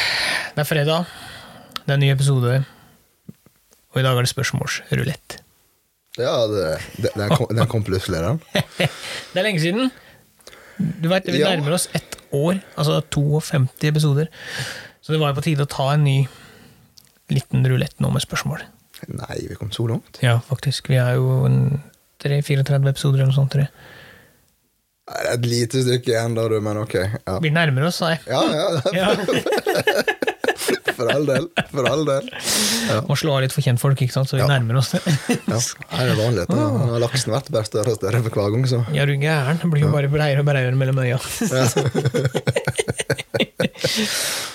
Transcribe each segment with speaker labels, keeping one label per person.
Speaker 1: er fredag, det er en ny episode, og i dag er det spørsmålsrulett.
Speaker 2: Ja, det, det, den, kom, den kom plutselig, den.
Speaker 1: Det er lenge siden. Du vet, Vi
Speaker 2: Ja.
Speaker 1: nærmer oss ett år, altså 52 episoder. Så det var jo på tide å ta en ny liten rulett nå med spørsmål.
Speaker 2: Nei, vi kom så langt.
Speaker 1: Ja, faktisk. Vi er jo en 3-34 episoder eller noe sånt. tror jeg.
Speaker 2: Nei, Det er et lite stykke igjen, da, du, men ok. Ja,
Speaker 1: Vi nærmer oss, nei.
Speaker 2: ja, ja
Speaker 1: Ja.
Speaker 2: for all del. For all del.
Speaker 1: Må slå av litt for kjentfolk, ikke sant? så vi nærmer oss det.
Speaker 2: Ja, Nei, det er vanlig at
Speaker 1: Ah.
Speaker 2: den- den har laksen vært bare større og større for hver gang, så.
Speaker 1: Ja, du er gæren. Det blir jo bare breiere og breiere mellom øya.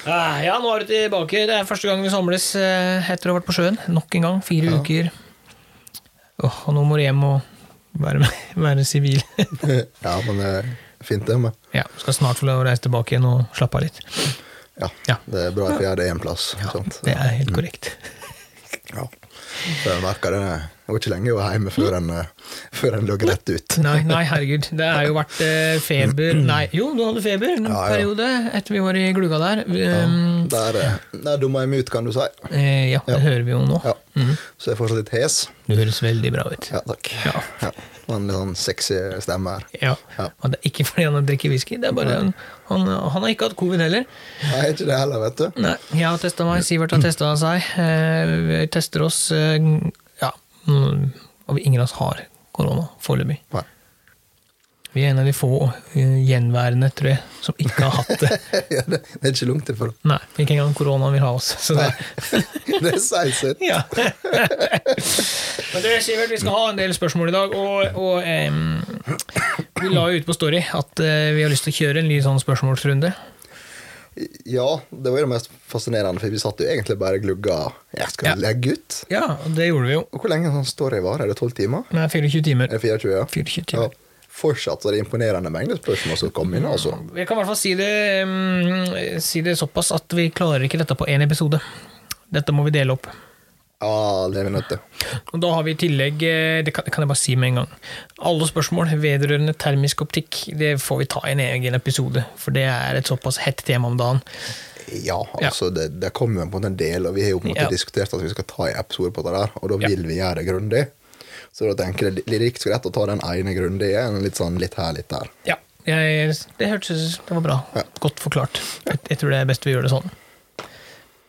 Speaker 1: Ah, ja, nå er du tilbake. Det er første gang vi samles eh, etter å ha vært på sjøen. Nok en gang. Fire uker. Åh, og nå må du hjem og være, være sivil.
Speaker 2: Ja, men det er fint, det. Men
Speaker 1: ja, skal snart få lov å reise tilbake igjen og slappe av litt.
Speaker 2: ja,
Speaker 1: Ja.
Speaker 2: det er bra at vi har det en plass. sant?
Speaker 1: Det er helt korrekt.
Speaker 2: Ja. Så jeg merker det. Det var ikke lenge jeg var hjemme før en, eh, før en lå rett ut.
Speaker 1: Nei, nei, herregud. Det har jo vært eh, feber Nei, jo, du hadde feber en
Speaker 2: Mm. Ja, ja.
Speaker 1: periode etter vi var i gluga der. Um,
Speaker 2: Der, eh, der dumma jeg meg ut, kan du si.
Speaker 1: eh, ja, det hører vi jo nå.
Speaker 2: Ja. Så jeg er fortsatt litt hes.
Speaker 1: Du høres veldig bra ut.
Speaker 2: Ja, takk.
Speaker 1: Ja.
Speaker 2: Ja. Og En litt sånn sexy stemme her.
Speaker 1: Ja.
Speaker 2: Ja.
Speaker 1: Og det er ikke fordi han drikker whisky. Det er bare han, han, han har ikke hatt covid heller.
Speaker 2: Nei, ikke det heller, vet du.
Speaker 1: Nei, jeg har testa meg. Sivert har testa seg. Eh, Vi tester oss. eh, Ja. mm, Og vi- ingen av oss har korona foreløpig.
Speaker 2: Nei.
Speaker 1: Vi er en av de få eh, gjenværende, tror jeg, som ikke har hatt det.
Speaker 2: Ja, det, det er ikke langt ifra.
Speaker 1: Nei, ikke engang korona vil ha oss. Så det,
Speaker 2: Det sier sitt.
Speaker 1: ja. Men du, Sivert, vi skal ha en del spørsmål i dag, og, og em, vi la jo ut på Story at eh, vi har lyst til å kjøre en ny sånn spørsmålsrunde.
Speaker 2: Ja, det var jo det mest fascinerende, for vi satt jo egentlig bare og glugga. Jeg skal
Speaker 1: Ja.
Speaker 2: legge ut.
Speaker 1: Ja, og det gjorde vi jo.
Speaker 2: Og hvor lenge sånn står jeg var? Er det 12 timer?
Speaker 1: Nei, 24 timer.
Speaker 2: Er det 24? Ja.
Speaker 1: 24 timer.
Speaker 2: Ja. Fortsatt så er det imponerende mengde spørsmål som kom inn, altså.
Speaker 1: Jeg kan i hvert fall si det, mm, si det såpass at vi klarer ikke dette på én episode. Dette må vi dele opp.
Speaker 2: Ja, det er vi nødt til.
Speaker 1: Og da har vi i tillegg eh, Det kan, kan jeg bare si med en gang. Alle spørsmål vedrørende termisk optikk det får vi ta i en egen episode. For det er et såpass hett tema om dagen.
Speaker 2: Ja, altså, det, det kommer jo på en måte en del, og vi har jo på en måte
Speaker 1: Ja.
Speaker 2: diskutert at vi skal ta en episode på det der, og da
Speaker 1: Ja.
Speaker 2: vil vi gjøre det grundig. Så da tenker jeg det er like så greit å ta den ene grundige, enn litt sånn litt her, litt der.
Speaker 1: Ja, jeg, det hørtes Det var bra. Godt forklart. Jeg, jeg tror det er best vi gjør det sånn.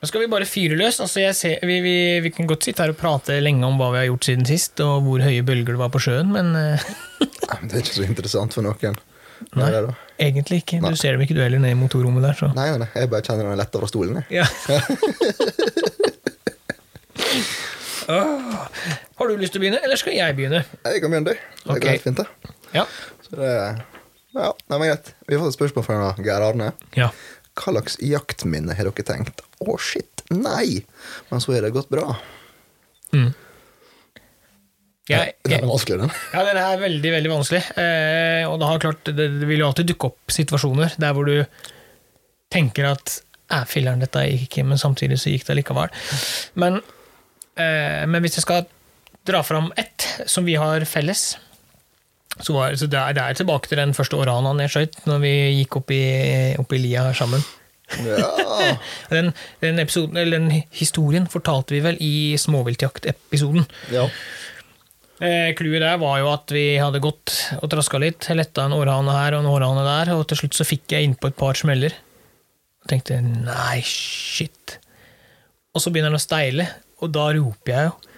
Speaker 1: Nå skal vi bare fyre løs. Altså jeg ser, vi, vi, vi kan godt sitte her og prate lenge om hva vi har gjort siden sist, og hvor høye bølger det var på sjøen, men eh,
Speaker 2: Nei, men Det er ikke så interessant for noen. Nei,
Speaker 1: Nei.
Speaker 2: det er det.
Speaker 1: egentlig ikke. Du ser dem ikke, du heller, nede i motorrommet der. Så.
Speaker 2: nei, nei, nei, jeg bare kjenner den letta fra stolen. Jeg.
Speaker 1: Ja. Åh. Ah. Har du lyst til å begynne, eller skal jeg begynne?
Speaker 2: jeg kan begynne, du. Det går
Speaker 1: Ok.
Speaker 2: helt fint, det.
Speaker 1: Ja.
Speaker 2: Så det ja, nei, men greit. Vi har fått et spørsmål fra Geir Arne.
Speaker 1: ja.
Speaker 2: Hva slags jaktminne har dere tenkt? Å, shit, nei! Men så har det gått bra.
Speaker 1: Jeg,
Speaker 2: Den
Speaker 1: jeg,
Speaker 2: er vanskelig, den.
Speaker 1: Ja, den er veldig, veldig vanskelig. Eh, og det, har klart, det det vil jo alltid dukke opp situasjoner der hvor du tenker at «Æ, filleren, dette gikk ikke, men samtidig så gikk det likevel. Men, eh, men hvis jeg skal dra fram ett som vi har felles så, var, så det, er, det er tilbake til den første oranaen jeg skjøt, når vi gikk opp i, opp i lia sammen.
Speaker 2: Ja.
Speaker 1: Den, den, episoden, eller den historien fortalte vi vel i småviltjaktepisoden.
Speaker 2: ja.
Speaker 1: Eh, Clouet der var jo at vi hadde gått og traska litt. Letta en århane her og en århane der, og til slutt så fikk jeg innpå et par smeller. Og tenkte nei, shit. Og så begynner han å steile, og da roper jeg jo.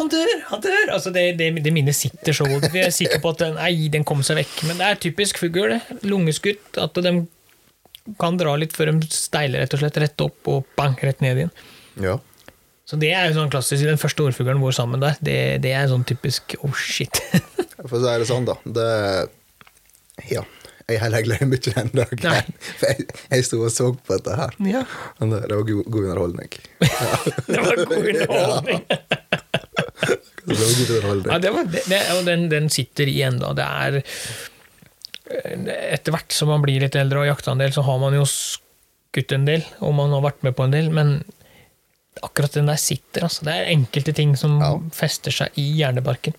Speaker 1: Han dør! Han dør! Altså Det, det, det minnet sitter så godt. Jeg er sikker på at den, nei, den kom seg vekk. Men det er typisk fugl. det. Lungeskutt. At de kan dra litt før de steiler, rett og slett. Rett opp og bang, rett ned igjen.
Speaker 2: ja.
Speaker 1: Så det er jo sånn klassisk, den første ordfuglen vår sammen der, det, det er sånn typisk oh shit.
Speaker 2: For å si det sånn, da. Det Ja. Jeg heller glemmer ikke den
Speaker 1: Nei.
Speaker 2: dagen. For jeg, jeg sto og så på dette her.
Speaker 1: Ja.
Speaker 2: Men Det, det var god, god underholdning.
Speaker 1: det var god underholdning.
Speaker 2: Det var god underholdning.
Speaker 1: Ja, det var, det, det, og den, den sitter i enda. Det er eh, Etter hvert som man blir litt eldre og har jakta en del, så har man jo skutt en del, og man har vært med på en del, men akkurat den der sitter, altså. Det er enkelte ting som
Speaker 2: Ja.
Speaker 1: fester seg i hjernebarken.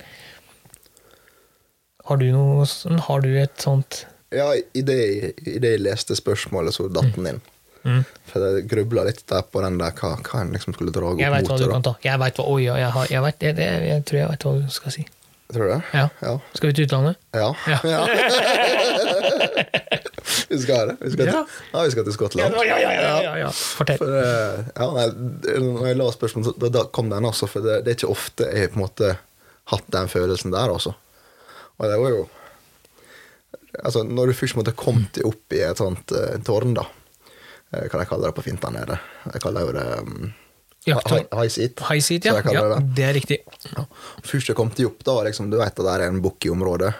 Speaker 1: Har du noe sånn- Har du et sånt
Speaker 2: Ja, i det, i det jeg leste spørsmålet, så datt den inn.
Speaker 1: Mm.
Speaker 2: For jeg grubla litt der på den der, hva, hva en liksom skulle dra opp
Speaker 1: Jeg veit hva
Speaker 2: mot
Speaker 1: du
Speaker 2: det. da.
Speaker 1: kan ta. Jeg vet hva, oi, ja, jeg, har, jeg, vet, jeg, jeg, jeg tror jeg veit hva du skal si.
Speaker 2: Tror du det?
Speaker 1: Ja.
Speaker 2: Ja.
Speaker 1: Skal vi til utlandet?
Speaker 2: ja.
Speaker 1: Ja.
Speaker 2: vi skal ha det. Vi skal til,
Speaker 1: Ja.
Speaker 2: ja. vi skal til Skottland.
Speaker 1: ja, ja. Fortell.
Speaker 2: For, eh, ja, nei, når jeg la spørsmålet, så- da, da kom den, altså. For det, det er ikke ofte jeg har på en måte hatt den følelsen der, altså. Og det var jo Altså, når du først måtte komme deg opp i et sånt eh, tårn, da eh, Kan jeg kalle det på fint der nede? Jeg kaller jo det um,
Speaker 1: Jakttårn.
Speaker 2: hi- high seat.
Speaker 1: High seat,
Speaker 2: som
Speaker 1: ja.
Speaker 2: jeg
Speaker 1: ja.
Speaker 2: kaller det.
Speaker 1: Det er riktig.
Speaker 2: Ja. Først jeg kom til opp, da var liksom, du vet at det er en bukk i området,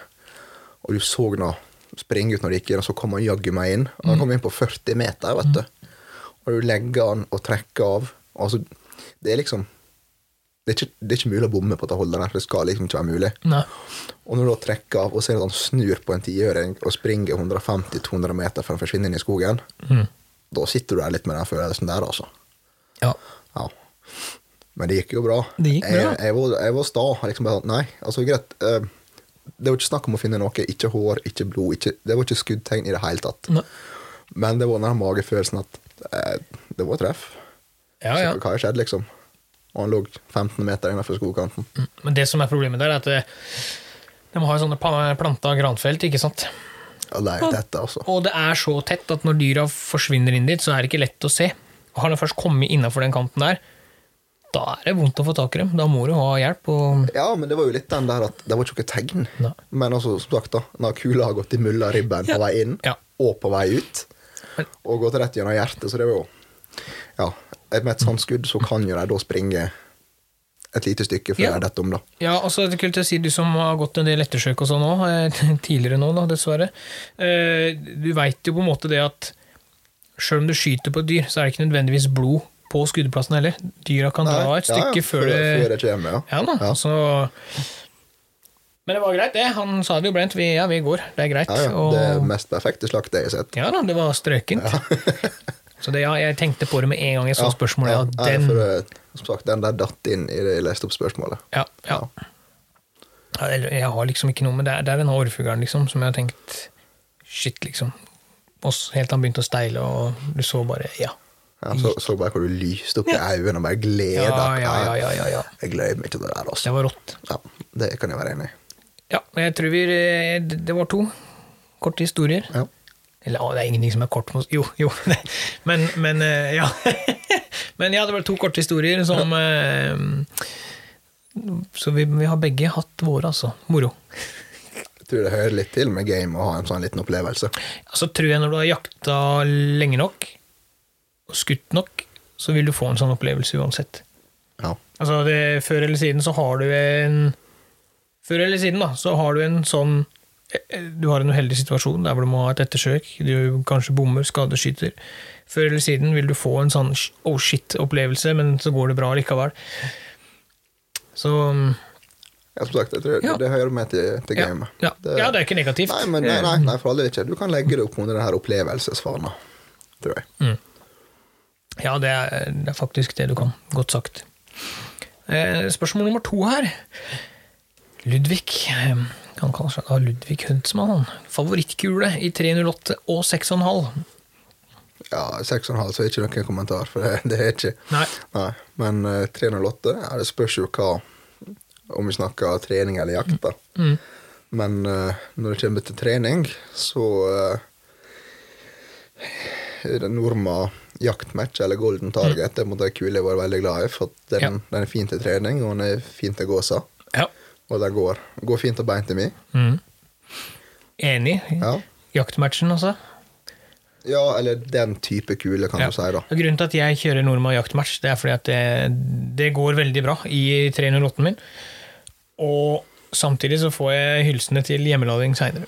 Speaker 2: og du så nå springe ut når du gikk inn, og så kom han jaggu meg inn. Og han kom inn på 40 meter, vet du. Og du legger han og trekker av. Altså, det er liksom det er, ikke, det er ikke mulig å bomme på å holde den her, for det skal liksom ikke være mulig.
Speaker 1: Nei.
Speaker 2: Og når du da trekker av og ser at han snur på en tiøring og springer 150-200 meter før han forsvinner inn i skogen,
Speaker 1: Mm.
Speaker 2: da sitter du der litt med den følelsen der, altså.
Speaker 1: Ja.
Speaker 2: Ja. Men det gikk jo bra.
Speaker 1: Det gikk bra.
Speaker 2: Jeg, jeg, var, jeg var sta. Liksom bare, nei, altså greit. eh, det var ikke snakk om å finne noe. Ikke hår, ikke blod. Ikke, det var ikke skuddtegn i det hele tatt.
Speaker 1: Nei.
Speaker 2: Men det var den her magefølelsen at eh, det var treff.
Speaker 1: Ja, ja.
Speaker 2: Så hva har skjedd, liksom? Og han lå 15 meter innenfor skogkanten.
Speaker 1: Men det som er problemet der, er at det- de har jo sånne pa- planta granfelt, ikke sant.
Speaker 2: Ja, det er dette, altså.
Speaker 1: Og det er så tett at når dyra forsvinner inn dit, så er det ikke lett å se. Og Har de først kommet innafor den kanten der, da er det vondt å få tak i dem. Da må du ha hjelp. Og
Speaker 2: Ja, men det var jo litt den der at det var ikke noe tegn.
Speaker 1: Nei.
Speaker 2: Men altså, som sagt, da, når kula har gått i mulla ribben på
Speaker 1: Ja.
Speaker 2: vei inn
Speaker 1: Ja.
Speaker 2: og på vei ut,
Speaker 1: Men-
Speaker 2: og gått rett gjennom hjertet, så det var jo Ja, med et sånt skudd så kan jo de da springe et lite stykke før
Speaker 1: Ja.
Speaker 2: de detter om, da.
Speaker 1: Ja, altså, det er kult å si, Du som har gått en del ettersøk og sånn òg, tidligere nå da, dessverre. eh, Du veit jo på en måte det at sjøl om du skyter på et dyr, så er det ikke nødvendigvis blod på skuddplassen heller. Dyra kan dra
Speaker 2: Nei,
Speaker 1: et stykke
Speaker 2: ja, ja,
Speaker 1: før det
Speaker 2: før det kommer, ja.
Speaker 1: Ja da,
Speaker 2: Ja.
Speaker 1: altså Men det var greit, det. Han sa det jo brent. Vi, ja, vi går. Det er greit.
Speaker 2: Ja, ja,
Speaker 1: og,
Speaker 2: det mest perfekte slaktet jeg har sett.
Speaker 1: ja da, det var strøkent. så det, ja, jeg tenkte på det med en gang jeg så spørsmålet. Ja,
Speaker 2: ja,
Speaker 1: den,
Speaker 2: for,
Speaker 1: ja,
Speaker 2: eh, som sagt, den der datt inn i det jeg leste opp spørsmålet.
Speaker 1: ja. Ja, eller, Jeg har liksom ikke noe med det. er- Det er denne orrfuglen liksom, som jeg har tenkt Shit, liksom. Og så helt til han begynte å steile, og du så bare Ja.
Speaker 2: Ja, så, så bare hvor du lyste opp i øynene og bare gleda.
Speaker 1: Ja, ja, ja, ja, ja, ja.
Speaker 2: Jeg gleder meg til det der, altså.
Speaker 1: Det var rått.
Speaker 2: Ja, det kan jeg være enig i.
Speaker 1: Ja, men jeg tror vi eh, Det det var to korte historier.
Speaker 2: Ja.
Speaker 1: Eller å, det er ingenting som er kort. mot- Jo, jo. Men, men eh, ja. Men ja, det var to korte historier som eh, Så vi, vi har begge hatt våre, altså. Moro.
Speaker 2: Jeg tror det hører litt til med game å ha en sånn liten opplevelse.
Speaker 1: Så tror jeg når du har jakta lenge nok, og skutt nok, så vil du få en sånn opplevelse uansett.
Speaker 2: Ja.
Speaker 1: Altså, det, før eller siden så har du en Før eller siden, da, så har du en sånn eh, Du har en uheldig situasjon der hvor du må ha et ettersøk, du kanskje bommer, skadeskyter. Før eller siden vil du få en sånn sh- oh shit-opplevelse, men så går det bra likevel. Så
Speaker 2: Ja, som sagt, jeg tror
Speaker 1: Ja.
Speaker 2: det, det hører med til, til
Speaker 1: ja,
Speaker 2: gamet.
Speaker 1: ja, ja, det er ikke negativt.
Speaker 2: Nei, men nei, nei, nei, for alle ikke. Du kan legge det opp under den her opplevelsesfana, tror jeg.
Speaker 1: Ja, det er, det er faktisk det du kan. Godt sagt. Eh, spørsmål nummer to her. Ludvig eh, Han kaller seg da Ludvig Huntsmann. han. Favorittkule i 308 og 6,5.
Speaker 2: Ja, 6,5 så er ikke noen kommentar, for det, det er ikke
Speaker 1: Nei.
Speaker 2: Nei, Men eh, 308, ja, det spørs jo hva Om vi snakker trening eller jakt, da.
Speaker 1: Mm.
Speaker 2: Men eh, når det kommer til trening, så eh, er det Norma jaktmatch eller Golden
Speaker 1: Mm.
Speaker 2: Target. Det måtte jeg kule jeg vært veldig glad i, for at den, den er fin til trening, og den er fin til gåsa.
Speaker 1: Ja.
Speaker 2: Og den går, går fint til bein til meg.
Speaker 1: Mm. Enig.
Speaker 2: Ja.
Speaker 1: Jaktmatchen, altså.
Speaker 2: ja, eller den type kule, kan
Speaker 1: Ja.
Speaker 2: du si, da.
Speaker 1: Og Grunnen til at jeg kjører Norma jaktmatch, det er fordi at det, det går veldig bra i 308-en min. Og samtidig så får jeg hylsene til hjemmelading seinere.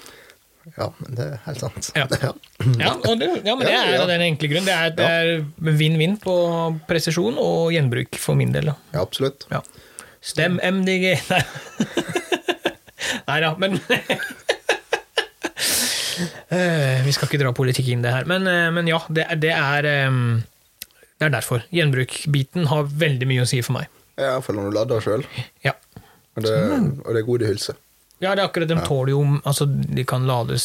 Speaker 2: Ja, men det er helt sant.
Speaker 1: Ja. Ja, og det, ja, men det
Speaker 2: Ja,
Speaker 1: er jo
Speaker 2: ja.
Speaker 1: den enkle grunnen. Det er, det er vinn-vinn på presisjon og gjenbruk, for min del. Da.
Speaker 2: ja absolutt.
Speaker 1: Ja. Stem MDG! Nei. Nei da, men Eh, Vi skal ikke dra politikk inn det her. Men, eh, men ja, det, er- det er eh, Det er derfor. Gjenbruk-biten har veldig mye å si for meg.
Speaker 2: Iallfall når du lader sjøl.
Speaker 1: Ja. Sånn.
Speaker 2: Og det, og det er god i hylse.
Speaker 1: Ja, det er akkurat de tåler jo altså, De kan lades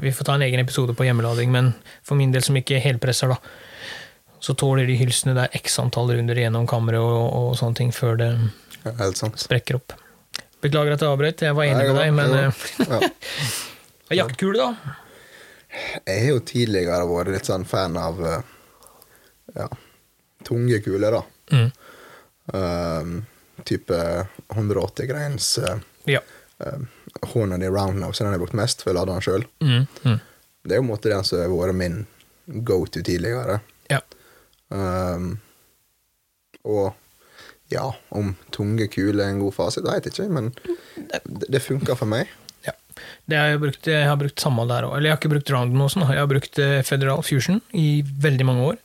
Speaker 1: Vi får ta en egen episode på hjemmelading, men for min del som ikke helpresser, da, så tåler de hylsene der x antall runder gjennom kammeret og, og sånne ting før det
Speaker 2: Ja, Helt sant.
Speaker 1: sprekker opp. Beklager at jeg avbrøt, jeg var enig
Speaker 2: Nei,
Speaker 1: med deg,
Speaker 2: det
Speaker 1: men
Speaker 2: var-
Speaker 1: eh,
Speaker 2: det var- ja.
Speaker 1: jaktkule, da?
Speaker 2: Jeg har jo tidligere vært litt sånn fan av eh, ja, tunge kuler, da.
Speaker 1: Mm.
Speaker 2: Ehm, type 180 greins uh,
Speaker 1: Ja.
Speaker 2: Hornady Roundhouse, den jeg har brukt mest, for jeg lader den sjøl.
Speaker 1: Mm. Mm.
Speaker 2: Det er jo på en måte den som har vært min go to tidligere.
Speaker 1: ja.
Speaker 2: Ehm, og ja, om tunge kuler er en god fasit, det vet jeg ikke, men det, det funker for meg.
Speaker 1: Ja. Det har jeg, brukt, jeg har brukt samme der òg. Eller jeg har ikke brukt Roundnosen, da. jeg har brukt eh, Federal Fusion i veldig mange år.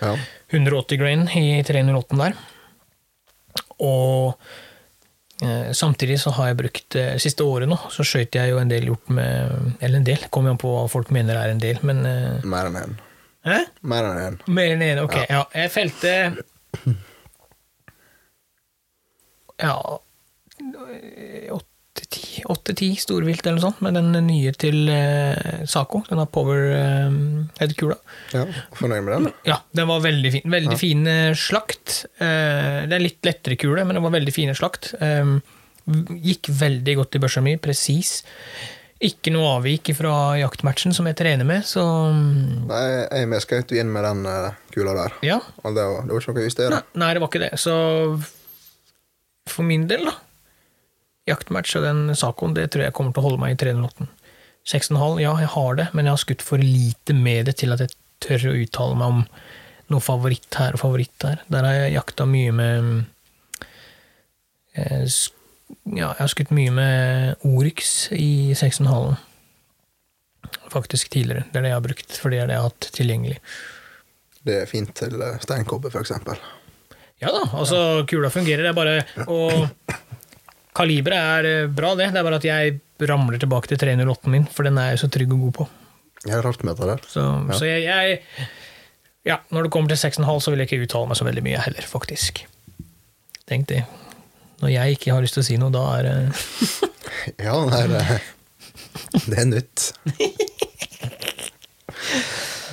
Speaker 2: Ja.
Speaker 1: 180 grain i 308 der. Og eh, samtidig så har jeg brukt eh, Siste året nå så skøyt jeg jo en del hjort med Eller en del, kommer jo an på hva folk mener er en del, men eh,
Speaker 2: Mer enn én.
Speaker 1: Hæ?
Speaker 2: Mer enn én.
Speaker 1: Mer enn én, ok. Ja. jeg felte Ja åtte-ti- Åtte-ti storvilt eller noe sånt, med den nye til eh, Saco. Den har power eh, headkula.
Speaker 2: Ja, fornøyd med den?
Speaker 1: Ja, den var veldig fin. Veldig fin eh, slakt. Eh, Det er litt lettere kule, men den var veldig fine slakt. Eh, Gikk veldig godt i børsa mi, presis. Ikke noe avvik fra jaktmatchen som jeg trener med, så mm,
Speaker 2: Nei, jeg vi skal ikke inn med den eh, kula der.
Speaker 1: ja.
Speaker 2: Og det var, det var ikke noe å
Speaker 1: Nei,
Speaker 2: justere.
Speaker 1: nei, det var ikke det. Så for min del, da Jaktmatch og den sakoen, det tror jeg kommer til å holde meg i 308. 6,5, ja, jeg har det, men jeg har skutt for lite med det til at jeg tør å uttale meg om noe favoritt her og favoritt der. Der har jeg jakta mye med mm, eh, sk- Ja, jeg har skutt mye med Oryx i 6,5. Faktisk tidligere. Det er det jeg har brukt, for det er det jeg har hatt tilgjengelig.
Speaker 2: Det er fint til eh, steinkobbe, for eksempel.
Speaker 1: Ja da, altså kula fungerer, det er bare Og kaliberet er eh, bra, det. Det er bare at jeg ramler tilbake til 308-en min, for den er jeg så trygg og god på.
Speaker 2: Jeg har rart med det der.
Speaker 1: Så, så jeg, jeg Ja, når det kommer til 6,5, så vil jeg ikke uttale meg så veldig mye heller, faktisk. Tenk det. Når jeg ikke har lyst til å si noe, da er eh, det
Speaker 2: Ja, nei, det, det er nytt.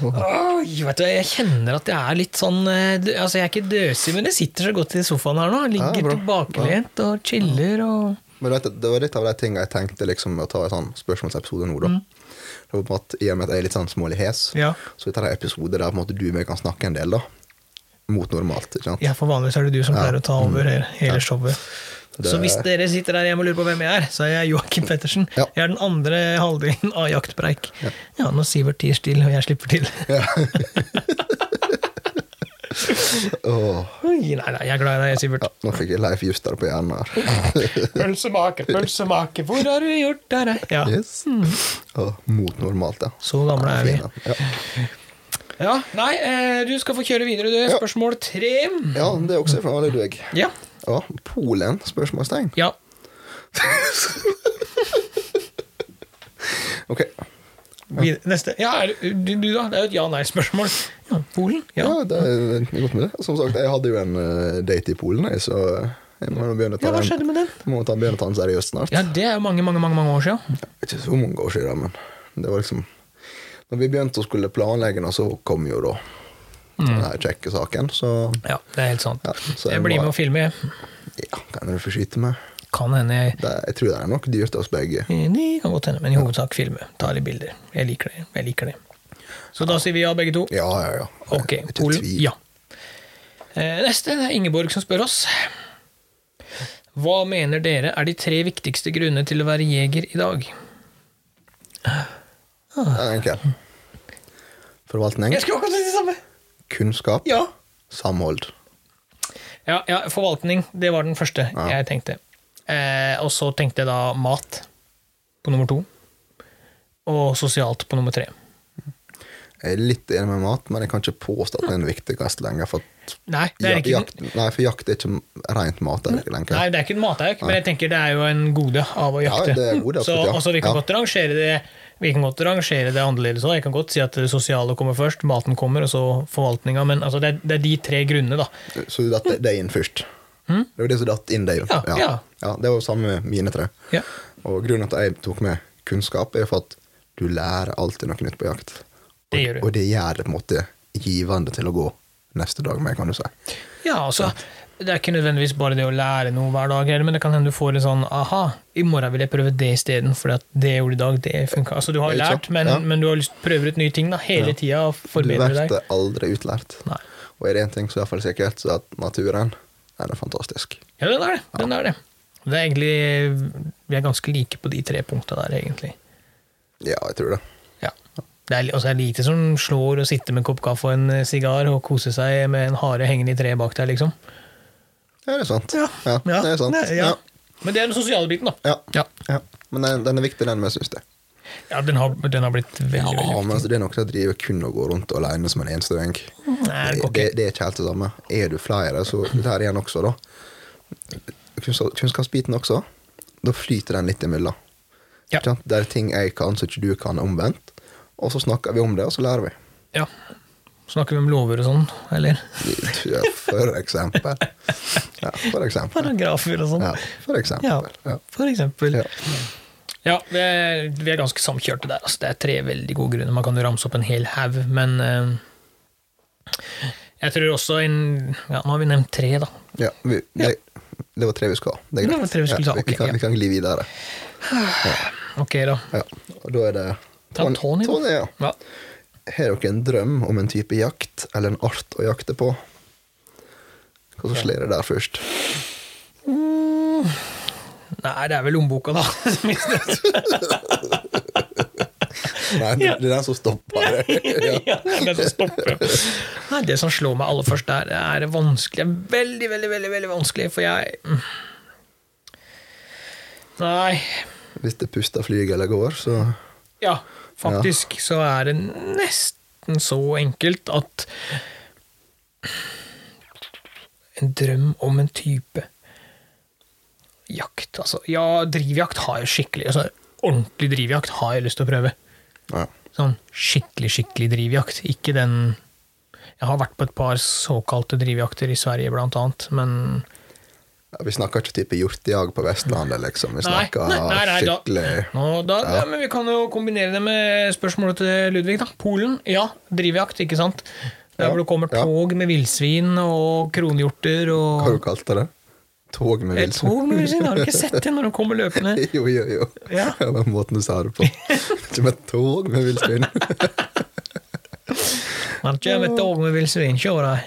Speaker 1: Oi, vet du, Jeg kjenner at jeg er litt sånn eh, d- Altså, Jeg er ikke døsig, men jeg sitter så godt i sofaen her nå. Jeg
Speaker 2: Ja,
Speaker 1: Ligger
Speaker 2: bra.
Speaker 1: tilbakelent og chiller og
Speaker 2: Men vet, du, det var litt av de tingene jeg tenkte liksom, med å ta en sånn spørsmålsepisode nå. da. Det var på en måte, I og med at jeg er litt sånn smålig hes,
Speaker 1: Mm. Ja.
Speaker 2: så dette er en episode der på en måte, du og jeg kan snakke en del. da. Mot normalt. ikke sant?
Speaker 1: Ja, Mm. for vanligvis er det du som pleier å ta over hele- hele showet.
Speaker 2: Det-
Speaker 1: Så hvis dere sitter der hjemme og lurer på hvem jeg er, så er jeg Joakim Pettersen.
Speaker 2: Ja.
Speaker 1: Jeg er den andre halvdelen av Jaktpreik. Ja, når Sivert tier stille, og jeg slipper til.
Speaker 2: Åh,
Speaker 1: Oi, nei, nei, jeg er glad i deg, Sivert.
Speaker 2: nå fikk jeg Leif Juster på hjernen her.
Speaker 1: Pølsemake, pølsemake, hvor har du gjort av deg? Ja. Mm.
Speaker 2: yes. Åh, mot normalt, ja.
Speaker 1: Så gamle er vi.
Speaker 2: Fin, ja. Ja.
Speaker 1: Ja, nei, eh, du skal få kjøre videre, du. Spørsmål tre.
Speaker 2: ja, det er også fra alle du og jeg.
Speaker 1: Ja.
Speaker 2: Ja, Polen? Spørsmålstegn.
Speaker 1: ja.
Speaker 2: Ok.
Speaker 1: Vid- Neste. Ja, er du, du, du, da? Det er jo et ja-nei-spørsmål. Ja, Polen?
Speaker 2: Ja,
Speaker 1: Ja.
Speaker 2: det er godt med det. Som sagt, jeg hadde jo en eh, date i Polen, jeg, så jeg må jo begynne å
Speaker 1: Ja,
Speaker 2: ta
Speaker 1: hva
Speaker 2: den-
Speaker 1: skjedde med den?
Speaker 2: Må ta, begynne å ta den seriøst snart.
Speaker 1: Ja, det er jo mange, mange, mange, mange år siden.
Speaker 2: Ikke så mange år siden, men det var liksom Når vi begynte å skulle planlegge nå, så kom jo da denne kjekke saken, så
Speaker 1: Ja, det er helt sant.
Speaker 2: Ja, så
Speaker 1: Mm. jeg
Speaker 2: jeg
Speaker 1: blir
Speaker 2: må-
Speaker 1: med og filmer.
Speaker 2: ja, kan du få skyte meg.
Speaker 1: Kan hende jeg
Speaker 2: Det, jeg tror det er nok dyrt til oss begge.
Speaker 1: Det kan godt hende, men i hovedsak filme. Ta litt bilder. Jeg liker det. jeg liker det. Så da sier vi ja, begge to.
Speaker 2: Ja, ja, ja.
Speaker 1: Ok,
Speaker 2: Ikke
Speaker 1: Polen.
Speaker 2: tvil.
Speaker 1: Ja. Eh, Neste det er Ingeborg som spør oss. Hva mener dere er de tre viktigste grunnene til å være jeger i dag?
Speaker 2: Det er enkelt. Forvaltning,
Speaker 1: Jeg skulle akkurat si det samme!
Speaker 2: kunnskap,
Speaker 1: Ja.
Speaker 2: samhold.
Speaker 1: ja. Ja, forvaltning. Det var den første
Speaker 2: Ja.
Speaker 1: jeg tenkte. Eh, og så tenkte jeg da mat på nummer to. Og sosialt på nummer tre.
Speaker 2: Jeg er litt enig med mat, men jeg kan ikke påstå at det er den viktigste lenger. For, at
Speaker 1: Nei, det er
Speaker 2: ja-
Speaker 1: ikke
Speaker 2: jakt, nei, for jakt er ikke rent mat. Er det ikke lenger.
Speaker 1: Nei, det er ikke en matauk, men jeg tenker det er jo en gode av å jakte.
Speaker 2: det er en gode,
Speaker 1: så
Speaker 2: absolutt, ja.
Speaker 1: altså, vi, kan
Speaker 2: Ja.
Speaker 1: godt rangere det, vi kan godt rangere det annerledes òg. Jeg kan godt si at det sosiale kommer først, maten kommer, og så forvaltninga. Men altså, det, er, det er de tre grunnene, da.
Speaker 2: Så du datt deg inn først? Det var det som datt inn deg.
Speaker 1: Hmm? Ja, ja.
Speaker 2: ja. Det var jo samme med mine tre.
Speaker 1: Ja.
Speaker 2: Og grunnen til at jeg tok med kunnskap, er jo for at du lærer alltid noe nytt på jakt.
Speaker 1: Det gjør du.
Speaker 2: Og det gjør det på en måte givende til å gå neste dag med, kan du si.
Speaker 1: Ja, altså, det er ikke nødvendigvis bare det å lære noe hver dag, heller, men det kan hende du får en sånn aha, i morgen vil jeg prøve det isteden, for det jeg gjorde i dag, det funka. Altså, du har
Speaker 2: Ikke
Speaker 1: lært,
Speaker 2: sant?
Speaker 1: men,
Speaker 2: Ja.
Speaker 1: men du har lyst til å prøve ut nye ting da, hele tida og
Speaker 2: Du
Speaker 1: forbedre
Speaker 2: blir
Speaker 1: deg.
Speaker 2: aldri utlært.
Speaker 1: Nei.
Speaker 2: Og er det én ting som er i hvert fall sikkert, så er at naturen den er fantastisk.
Speaker 1: Ja, den er det. Den er det. Det er egentlig, vi er ganske like på de tre punkta der, egentlig.
Speaker 2: Ja, jeg tror det.
Speaker 1: Ja. Det er, altså, det er lite som slår å sitte med en kopp kaffe og en eh, sigar og kose seg med en hare hengende i treet bak deg, liksom.
Speaker 2: Ja, det er sant. Ja, det er sant.
Speaker 1: Nei, ja. Men det er den sosiale biten, da.
Speaker 2: Ja.
Speaker 1: Ja,
Speaker 2: Ja. Men den, den er viktig, den med, syns jeg.
Speaker 1: ja den, har, den har blitt
Speaker 2: Ja,
Speaker 1: veldig, veldig
Speaker 2: men altså, det er noe som driver kun å gå rundt alene som en eneste gjeng.
Speaker 1: Nei, det
Speaker 2: Det,
Speaker 1: går
Speaker 2: det,
Speaker 1: ikke.
Speaker 2: det er ikke helt det samme. Er du flere, så det her igjen også, da. Kunnskap- Kunnskapsbiten også. Da flyter den litt imellom.
Speaker 1: Ja.
Speaker 2: Ikke sant? Det er ting jeg kan som ikke du kan, omvendt. Og så snakker vi om det, og så lærer vi.
Speaker 1: Ja. Snakker vi om lover og sånn, eller?
Speaker 2: Ja, For eksempel. Ja, for eksempel.
Speaker 1: Paragrafer og sånn.
Speaker 2: Ja, for
Speaker 1: Ja,
Speaker 2: eksempel. Ja.
Speaker 1: for eksempel.
Speaker 2: Ja.
Speaker 1: Ja, vi, er, vi er ganske samkjørte der. Altså, det er tre veldig gode grunner. Man kan jo ramse opp en hel haug, men eh, jeg tror også en Ja, nå har vi nevnt tre, da.
Speaker 2: Ja, vi, det, det var tre vi skal ha. Det er
Speaker 1: Det var
Speaker 2: greit.
Speaker 1: tre vi skulle ta,
Speaker 2: Ja, vi,
Speaker 1: ok,
Speaker 2: vi, kan,
Speaker 1: ja.
Speaker 2: vi kan gli videre.
Speaker 1: Ok, da.
Speaker 2: Ja. Og da er det
Speaker 1: Ta Tony, da.
Speaker 2: Tony, ja.
Speaker 1: Ja.
Speaker 2: Har dere en drøm om en type jakt eller en art å jakte på? Hva som slår det der først?
Speaker 1: Nei, det er vel lommeboka, da.
Speaker 2: Nei, det, det er den som stopper det. ja.
Speaker 1: ja, det, som stopper. Nei, det som slår meg aller først der, er vanskelig. Det er Veldig, veldig, veldig veldig vanskelig, for jeg mm. Nei.
Speaker 2: Hvis det puster, flyger eller går, så
Speaker 1: Ja, faktisk så er det nesten så enkelt at En drøm om en type jakt, altså. Ja, drivjakt har jeg skikkelig altså, Ordentlig drivjakt har jeg lyst til å prøve.
Speaker 2: ja.
Speaker 1: sånn skikkelig, skikkelig drivjakt. Ikke den Jeg har vært på et par såkalte drivjakter i Sverige, blant annet, men
Speaker 2: Ja, Vi snakker ikke type hjortejag på Vestlandet, liksom. Vi
Speaker 1: Nei,
Speaker 2: snakker
Speaker 1: nei, nei, nei, da-
Speaker 2: skikkelig
Speaker 1: Nå, da, ja. men Vi kan jo kombinere det med spørsmålet til Ludvig. da. Polen, ja, drivjakt, ikke sant? Der
Speaker 2: Ja,
Speaker 1: hvor det kommer
Speaker 2: ja.
Speaker 1: tog med villsvin og kronhjorter
Speaker 2: Hva har
Speaker 1: og
Speaker 2: du kalt det? det? Tog med
Speaker 1: Eh,
Speaker 2: villsvin?
Speaker 1: Tog med villsvin, har du ikke sett det når de kommer løpende?
Speaker 2: Jo, jo, jo.
Speaker 1: Ja.
Speaker 2: Det var måten du sa det på. Ikke med tog med villsvin.
Speaker 1: Man kommer et tog med villsvin, kjører.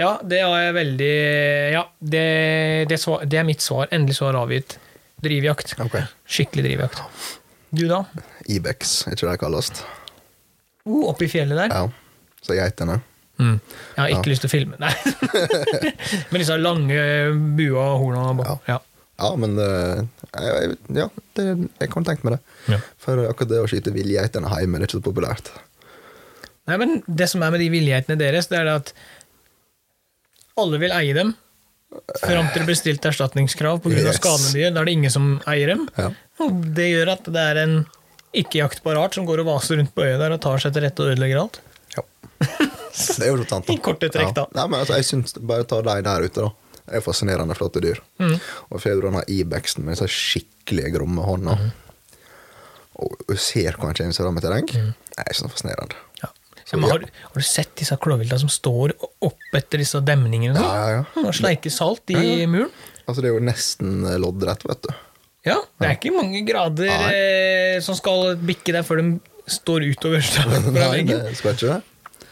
Speaker 1: Ja, det har jeg veldig Ja, det, det, svar, det er mitt svar. Endelig svar avgitt. Drivjakt.
Speaker 2: Ok.
Speaker 1: Skikkelig drivjakt. Du, da?
Speaker 2: Ibex, er ikke det det kalles?
Speaker 1: Oh, oppe i fjellet der?
Speaker 2: Ja. Så geitene.
Speaker 1: Mm. Jeg har ikke lyst til å filme. Nei. Men disse lange bua og horna bak. Ja.
Speaker 2: Ja, men eh, jeg, jeg- ja, det, jeg kan tenke meg det.
Speaker 1: Ja.
Speaker 2: For akkurat det å skyte villgeitene hjemme, det er ikke så populært.
Speaker 1: Nei, men det som er med de villighetene deres, det er det at alle vil eie dem. Fram til det blir stilt erstatningskrav pga.
Speaker 2: Yes.
Speaker 1: Yes. skadene de gjør. Da er det ingen som eier dem.
Speaker 2: Ja.
Speaker 1: Og det gjør at det er en ikke-jaktbar art som går og vaser rundt på øya der og tar seg til rette og ødelegger alt.
Speaker 2: Ja. Det er jo rotant, da.
Speaker 1: I korte trekk, da.
Speaker 2: Ja. Nei, men altså, jeg synes, Bare ta de der ute, da. Det er fascinerende flotte dyr.
Speaker 1: Mm.
Speaker 2: Og Fedron har Ibexen med disse skikkelig gromme hånda.
Speaker 1: Mm.
Speaker 2: Og du ser hvor han kommer seg fram i terreng. Det er så fascinerende.
Speaker 1: Ja. men har, har du sett disse klovvilta som står opp etter disse demningene og sånn?
Speaker 2: Ja, ja, ja.
Speaker 1: og sleiker salt i muren?
Speaker 2: Altså, det er jo nesten eh, loddrett, vet du.
Speaker 1: Ja, det er ikke mange grader
Speaker 2: Nei.
Speaker 1: eh, som skal bikke der før de står utover fra
Speaker 2: Nei,
Speaker 1: veggen.
Speaker 2: det skal ikke det.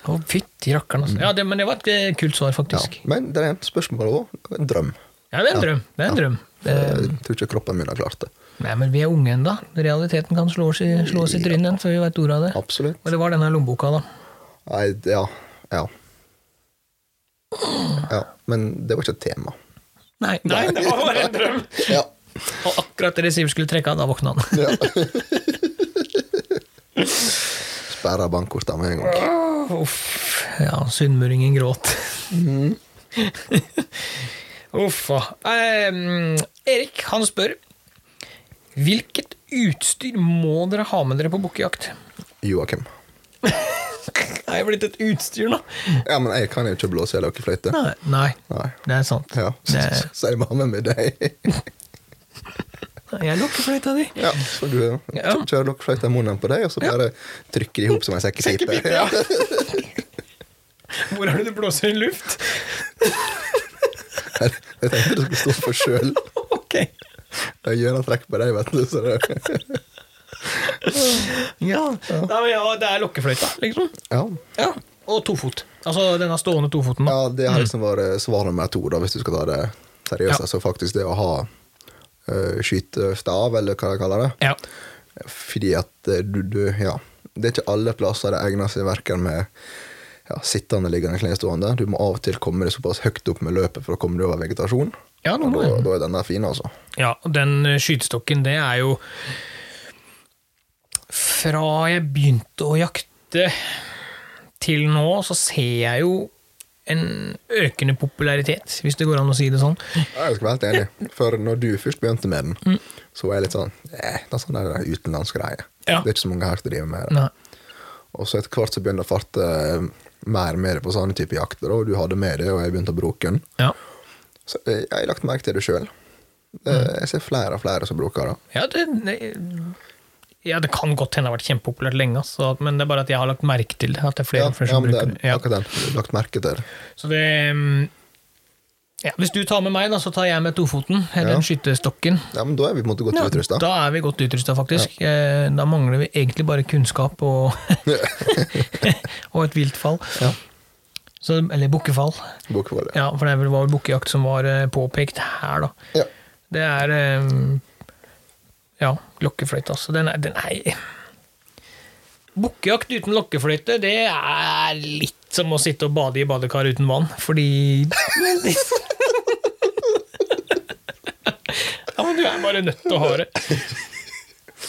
Speaker 1: Å, fytti rakkeren, altså. Ja, det, men det var et eh, kult svar,
Speaker 2: Ja.
Speaker 1: faktisk.
Speaker 2: Men det er et spørsmål òg. En drøm.
Speaker 1: Ja, det er en drøm. Det er en drøm. Det,
Speaker 2: Jeg tror ikke kroppen min har klart det.
Speaker 1: nei, men vi er unge ennå. Realiteten kan slå oss i, slå oss i trynet den før vi veit ordet av det.
Speaker 2: Absolutt.
Speaker 1: Og det var denne lommeboka, da.
Speaker 2: Nei, det- ja. Ja. ja. Men det var ikke et tema.
Speaker 1: Nei, nei, det var bare en drøm!
Speaker 2: Ja.
Speaker 1: Og akkurat det Siv skulle trekke av, da våkna han.
Speaker 2: ja. Sperra bankkortet med en gang.
Speaker 1: Uff. Ja, sunnmøringen gråt. Mm. Uff a. Em, Erik, han spør Hvilket utstyr må dere ha med dere på bukkejakt?
Speaker 2: Joakim.
Speaker 1: Er jeg blitt et utstyr nå?
Speaker 2: Ja, men jeg kan jo ikke blåse i løkkefløyte.
Speaker 1: Nei, nei,
Speaker 2: Nei.
Speaker 1: det er sant.
Speaker 2: Ja.
Speaker 1: Det,
Speaker 2: Så jeg var med med deg.
Speaker 1: nei, Jeg lukker fløyta di!
Speaker 2: Ja, så du
Speaker 1: Ja.
Speaker 2: kjører lokkfløyta i munnen på deg, og så bare trykker de i hop som en sekkepipe.
Speaker 1: Sekkepipe, ja. Hvor er det du blåser i luft?
Speaker 2: Jeg tenkte du skulle stå for sjøl.
Speaker 1: Ok.
Speaker 2: Jeg gjør en trekk på deg, vet du. Så det,
Speaker 1: Ja. Nei, men ja, det er lokkefløyta, liksom.
Speaker 2: ja.
Speaker 1: Ja. Og tofot. Altså denne stående tofoten.
Speaker 2: ja,
Speaker 1: da.
Speaker 2: det har liksom vært svar nummer to, da, hvis du skal ta det seriøst.
Speaker 1: Ja.
Speaker 2: Altså faktisk det å ha eh, skytestav, eller hva de kaller det.
Speaker 1: Ja.
Speaker 2: Fordi at eh, du, du Ja. Det er ikke alle plasser det egner seg verken med ja, sittende, liggende, knestående. Du må av og til komme deg såpass høyt opp med løpet for å komme deg over vegetasjon.
Speaker 1: Ja, nå
Speaker 2: Og
Speaker 1: må
Speaker 2: da,
Speaker 1: jeg.
Speaker 2: da er den der fin, altså.
Speaker 1: Ja, og den eh, skytestokken, det er jo Fra jeg begynte å jakte til nå, så ser jeg jo en økende popularitet, hvis det går an å si det sånn.
Speaker 2: Ja, Jeg skal være helt enig. For når du først begynte med den,
Speaker 1: Mm.
Speaker 2: så var jeg litt sånn eh, Det er sånn der utenlandsk greie.
Speaker 1: Ja.
Speaker 2: Det er ikke så mange her som driver med det.
Speaker 1: Nei.
Speaker 2: Og så etter hvert så begynner jeg å farte eh, mer med det på sånne type jakter, og du hadde med det, og jeg begynte å bruke den.
Speaker 1: Ja.
Speaker 2: Så eh, jeg har lagt merke til det sjøl.
Speaker 1: Mm.
Speaker 2: Jeg ser flere og flere som bruker det.
Speaker 1: Ja, det, det, ja, det kan godt hende det har vært kjempepopulært lenge, ass, så, at- men det er bare at jeg har lagt merke til det. At det er flere
Speaker 2: Ja,
Speaker 1: og flere
Speaker 2: ja,
Speaker 1: som
Speaker 2: men det
Speaker 1: bruker det.
Speaker 2: er
Speaker 1: Ja.
Speaker 2: akkurat den. Jeg har Lagt merke til det.
Speaker 1: Så det mm, ja, Hvis du tar med meg, da, så tar jeg med tofoten, eller
Speaker 2: Ja.
Speaker 1: skytestokken.
Speaker 2: Ja, men da er vi på en måte godt
Speaker 1: Ja,
Speaker 2: utrusta.
Speaker 1: Da er vi godt utrusta, faktisk. Eh, Da mangler vi egentlig bare kunnskap og, og et vilt fall.
Speaker 2: Ja.
Speaker 1: Så, eller bukkefall.
Speaker 2: Bokvoll, ja.
Speaker 1: Ja, for det var vel bukkejakt som var eh, påpekt her, da.
Speaker 2: ja.
Speaker 1: Det er eh, Ja, lokkefløyte, altså. Den er, den er Bukkejakt uten lokkefløyte, det er litt som å sitte og bade i badekar uten vann, fordi Ja, men du er bare nødt til å ha det.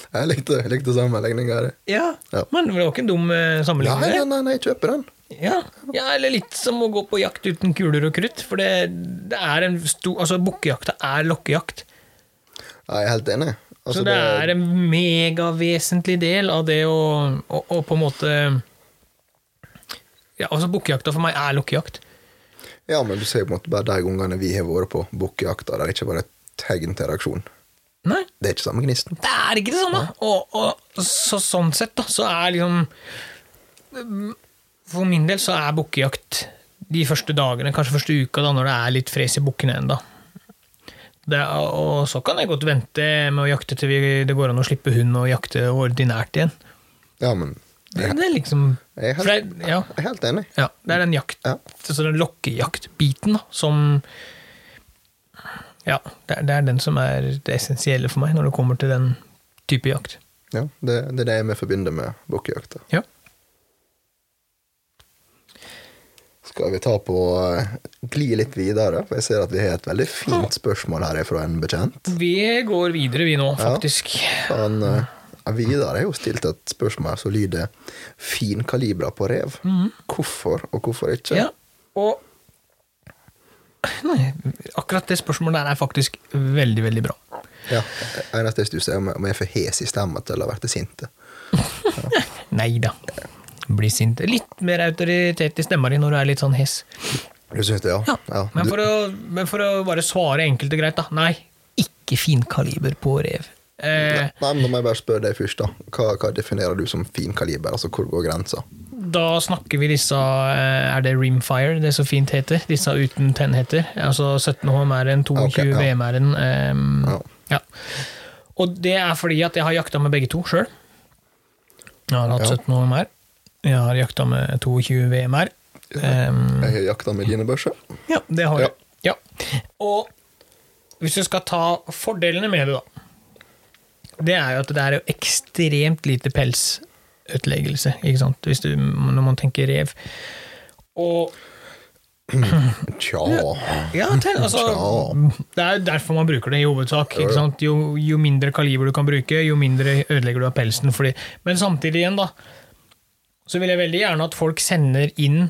Speaker 2: Jeg likte, likte sammenligninga.
Speaker 1: Ja,
Speaker 2: Ja.
Speaker 1: men det var ikke en dum eh,
Speaker 2: Nei,
Speaker 1: sammenligning.
Speaker 2: nei,
Speaker 1: det.
Speaker 2: nei, nei, jeg kjøper den.
Speaker 1: Ja. ja, eller litt som å gå på jakt uten kuler og krutt, for det, det er en stor Altså, bukkejakta er lokkejakt.
Speaker 2: Ja, jeg er helt enig. Altså,
Speaker 1: så det, er en megavesentlig del av det å, å, å på en måte Ja, altså bukkejakta for meg er lokkejakt.
Speaker 2: Ja, men du ser jo på en måte bare de gangene vi har vært på bukkejakt, der det ikke var et tegn til reaksjon.
Speaker 1: Nei,
Speaker 2: Det er ikke samme gnisten.
Speaker 1: det er ikke det samme! Og, og så, sånn sett, da, så er liksom mm, For min del så er bukkejakt de første dagene, kanskje første uka, da, når det er litt fres i bukkene ennå. Og så kan jeg godt vente med å jakte til vi, det går an å slippe hund og jakte ordinært igjen.
Speaker 2: Ja, men
Speaker 1: Det, det er liksom
Speaker 2: jeg er
Speaker 1: for
Speaker 2: helt,
Speaker 1: det, ja.
Speaker 2: jeg er helt enig.
Speaker 1: Ja, det er den jakt,
Speaker 2: Ja.
Speaker 1: altså den lokkejaktbiten da, som Ja, det er, det er den som er det essensielle for meg når det kommer til den type jakt.
Speaker 2: Ja, det, det er det vi forbinder med bukkejakta.
Speaker 1: Ja.
Speaker 2: Skal vi ta på eh, Gli litt videre, for jeg ser at vi har et veldig fint spørsmål her fra en bekjent.
Speaker 1: Vi går videre, vi nå,
Speaker 2: Ja.
Speaker 1: faktisk.
Speaker 2: Han eh, Vidar har jo stilt et spørsmål som lyder 'Finkalibra på rev'. Hvorfor, og hvorfor ikke?
Speaker 1: Mhm. Ja. Og Nei, akkurat det spørsmålet der er faktisk veldig, veldig bra.
Speaker 2: Ja, eneste jeg stusser, er om om jeg er for hes i stemmen til å ha vært sint.
Speaker 1: Nei da. Bli sint. Litt mer autoritet i stemma di når du er litt sånn hes.
Speaker 2: Du syns det, ja?
Speaker 1: Ja.
Speaker 2: Ja,
Speaker 1: men,
Speaker 2: du-
Speaker 1: for å, men for å bare svare enkelt og greit, da. Nei, ikke finkaliber på rev. Eh,
Speaker 2: Nei, men Da må jeg bare spørre deg først, da. Hva, hva definerer du som finkaliber? Altså, hvor går grensa?
Speaker 1: da snakker vi disse eh, Er det rimfire det så fint heter? Disse uten tennheter. Altså 17 HMR-en, 22
Speaker 2: Ok, ja.
Speaker 1: VM-en. Eh,
Speaker 2: Ja.
Speaker 1: ja. Og det er fordi at jeg har jakta med begge to sjøl. Jeg har hatt
Speaker 2: Ja.
Speaker 1: 17 HMR. Jeg har jakta med 22 VM-er. Eh,
Speaker 2: Jeg har jakta med dine børser.
Speaker 1: Ja, det har
Speaker 2: Ja.
Speaker 1: du. Ja. Og hvis du skal ta fordelene med det, da Det er jo at det er jo ekstremt lite pelsødeleggelse, ikke sant, hvis du, når man tenker rev. Og
Speaker 2: Tja
Speaker 1: ja, tenk, altså, det er jo derfor man bruker det i hovedsak. Ikke sant? Jo, jo mindre kaliber du kan bruke, jo mindre ødelegger du av pelsen. Fordi, men samtidig igjen, da, så vil jeg veldig gjerne at folk sender inn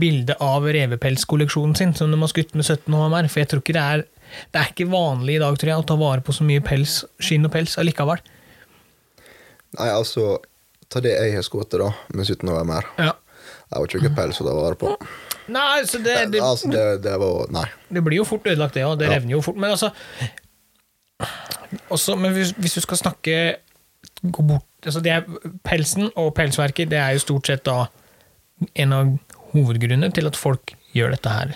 Speaker 1: bilde av revepelskolleksjonen sin som de har skutt med 17 HMR. For jeg tror ikke det er Det er ikke vanlig i dag tror jeg, å ta vare på så mye pels, skinn og pels allikevel.
Speaker 2: Nei, altså, ta det jeg har skutt, da, med 17 november.
Speaker 1: Ja.
Speaker 2: Det var ikke noe pels å ta vare på.
Speaker 1: Nei, så det, det,
Speaker 2: Altså, det, det var Nei.
Speaker 1: Det blir jo fort ødelagt, det òg. Det revner jo fort. Men altså Også, men hvis, hvis du skal snakke gå bort, altså det er, Pelsen og pelsverket det er jo stort sett da en av hovedgrunnene til at folk gjør dette her.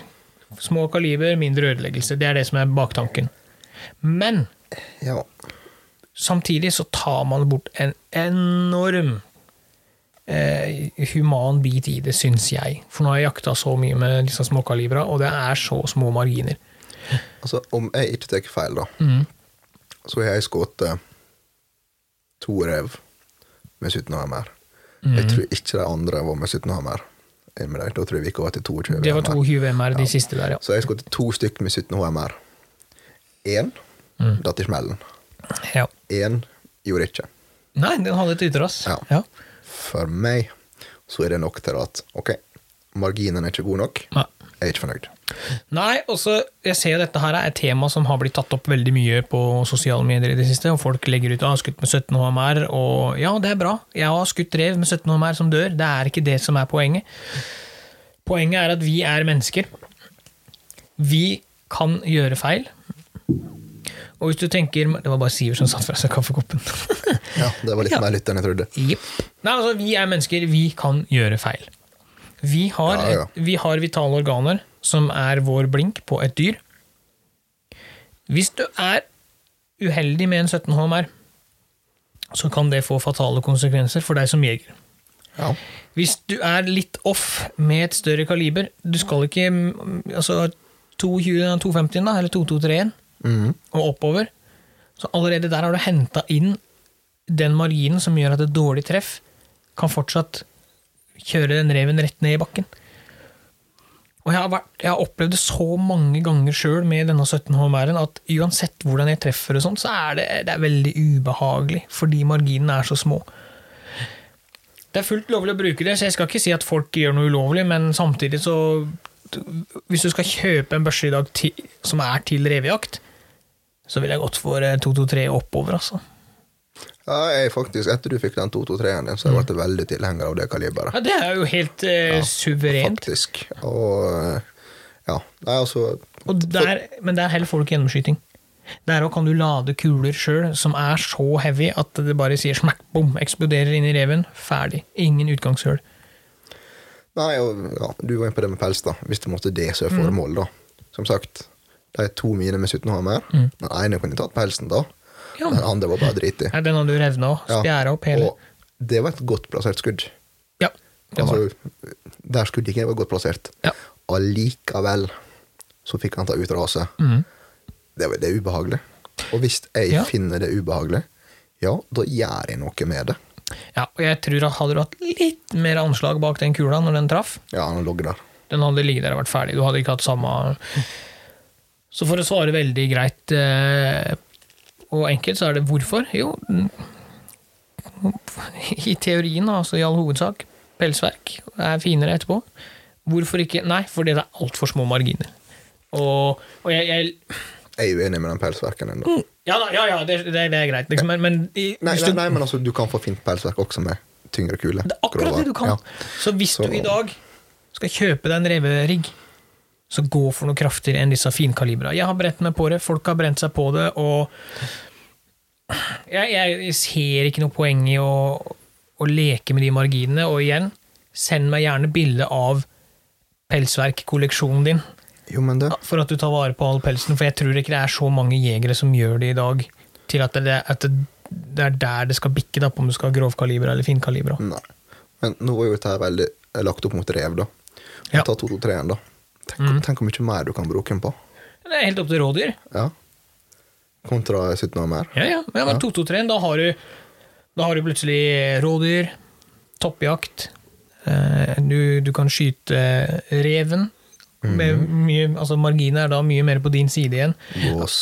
Speaker 1: Små kaliber, mindre ødeleggelse. Det er det som er baktanken. Men
Speaker 2: Ja.
Speaker 1: samtidig så tar man bort en enorm eh, human bit i det, syns jeg. For nå har jeg jakta så mye med disse småkalibra, og det er så små marginer.
Speaker 2: Altså, om jeg ikke tar feil, da, så har jeg skutt eh, to rev med 17 hammer.
Speaker 1: Mhm.
Speaker 2: Jeg tror ikke de andre var med 17 hammer. Jeg mener, Da tror jeg vi ikke var til 22
Speaker 1: Det var
Speaker 2: hammer.
Speaker 1: 22 MR, de siste der, ja.
Speaker 2: Så jeg skjøt to stykk med 17 HMR. Én
Speaker 1: Mm.
Speaker 2: datt i smellen.
Speaker 1: ja.
Speaker 2: Én gjorde ikke.
Speaker 1: Nei, den hadde et ytterrass.
Speaker 2: Ja.
Speaker 1: Ja.
Speaker 2: For meg så er det nok til at ok, marginen er ikke god nok.
Speaker 1: Nei.
Speaker 2: Jeg er ikke fornøyd.
Speaker 1: Nei, også, jeg ser jo dette her er et tema som har blitt tatt opp veldig mye på sosiale medier i det siste, og folk legger ut at har skutt med 17 HMR, og ja, det er bra, jeg har skutt rev med 17 HMR som dør, det er ikke det som er poenget. Poenget er at vi er mennesker. Vi kan gjøre feil. Og hvis du tenker Det var bare Sivert som satt fra seg kaffekoppen.
Speaker 2: Ja, Det var litt
Speaker 1: Ja.
Speaker 2: mer lytt enn jeg trodde.
Speaker 1: Jepp. Nei, altså, vi er mennesker, vi kan gjøre feil. Vi har,
Speaker 2: Ja, ja.
Speaker 1: Et, vi har vitale organer, som er vår blink på et dyr. Hvis du er uheldig med en 17 HMR, så kan det få fatale konsekvenser for deg som jeger.
Speaker 2: Ja.
Speaker 1: Hvis du er litt off med et større kaliber Du skal ikke mm, altså 22, 250 da, eller 2231
Speaker 2: Mhm.
Speaker 1: og oppover Så allerede der har du henta inn den marginen som gjør at et dårlig treff kan fortsatt kjøre den reven rett ned i bakken. Og jeg har, vært, jeg har opplevd det så mange ganger sjøl med denne 17 HMR-en at uansett hvordan jeg treffer, og sånt, så er det, det er veldig ubehagelig fordi marginene er så små. Det er fullt lovlig å bruke det, så jeg skal ikke si at folk gjør noe ulovlig, men samtidig så Hvis du skal kjøpe en børse i dag ti, som er til revejakt, så ville jeg gått for eh, 223 oppover, altså.
Speaker 2: Ja, jeg faktisk, Etter du fikk den 223-en din, så har jeg vært veldig tilhenger av det kaliberet.
Speaker 1: Ja, Det er jo helt eh, suverent.
Speaker 2: Faktisk. Og eh, ja. Nei, altså
Speaker 1: Og der, men der heller får du ikke gjennomskyting. Der òg kan du lade kuler sjøl, som er så heavy at det bare sier smakk, bom, eksploderer inn i reven. Ferdig. Ingen utgangshull.
Speaker 2: Nei, og, ja, du var inne på det med pels, da. Hvis det måtte det som er
Speaker 1: Mm.
Speaker 2: formålet, da. Som sagt, de to mine med 17 hammer. Den ene kunne tatt pelsen, da.
Speaker 1: Mm. Ja.
Speaker 2: Den andre var bare dritig.
Speaker 1: Nei, Den hadde du revna og
Speaker 2: Ja,
Speaker 1: spjæra opp hele.
Speaker 2: Og det var et godt plassert skudd.
Speaker 1: Ja, det var det.
Speaker 2: Altså, der skuddet ikke var godt plassert.
Speaker 1: Ja.
Speaker 2: Allikevel så fikk han ta ut raset.
Speaker 1: Mm.
Speaker 2: Det, var- det er ubehagelig. Og hvis jeg
Speaker 1: Ja.
Speaker 2: finner det ubehagelig, ja, da gjør jeg noe med det.
Speaker 1: Ja, og jeg tror at hadde du hatt litt mer anslag bak den kula når den traff,
Speaker 2: Ja, han logger der.
Speaker 1: den hadde ligget der og vært ferdig. Du hadde ikke hatt samme Så for å svare veldig greit eh, og enkelt, så er det hvorfor? Jo, mm, i teorien, altså i all hovedsak, pelsverk er finere etterpå. Hvorfor ikke? Nei, fordi det er altfor små marginer. Og, og jeg, jeg
Speaker 2: Jeg er uenig med den pelsverken ennå.
Speaker 1: Ja da, ja, ja, det, det, det er greit, liksom, men, men i, Mm,
Speaker 2: Nei,
Speaker 1: hvis
Speaker 2: nei,
Speaker 1: du-
Speaker 2: nei, men altså, du kan få fint pelsverk også med tyngre kule.
Speaker 1: Det er akkurat det du kan.
Speaker 2: Ja.
Speaker 1: Så hvis
Speaker 2: Så-
Speaker 1: du i dag skal kjøpe deg en reverigg, så gå for noe kraftigere enn disse finkalibra. Jeg har brent meg på det, folk har brent seg på det, og jeg, jeg ser ikke noe poeng i å, å leke med de marginene. Og igjen, send meg gjerne bilde av pelsverkkolleksjonen din,
Speaker 2: Jo, men det
Speaker 1: for at du tar vare på all pelsen, for jeg tror ikke det er så mange jegere som gjør det i dag, til at det, at det, det er der det skal bikke, da, på om du skal ha grovkalibra eller finkalibra.
Speaker 2: Nei. Men nå var jo dette her veldig eh, lagt opp mot rev, da.
Speaker 1: Ja. Mm.
Speaker 2: Ta 223-en, da. Tenk, tenk hvor mye mer du kan bruke den på.
Speaker 1: Det er helt opp til rådyr.
Speaker 2: Ja. Kontra 17 år mer.
Speaker 1: Ja, ja. Men ja. 2-2-3, da har du Da har du plutselig rådyr, toppjakt, eh, du, du kan skyte eh, reven. Med mye, altså marginen er da mye mer på din side igjen.
Speaker 2: Gås.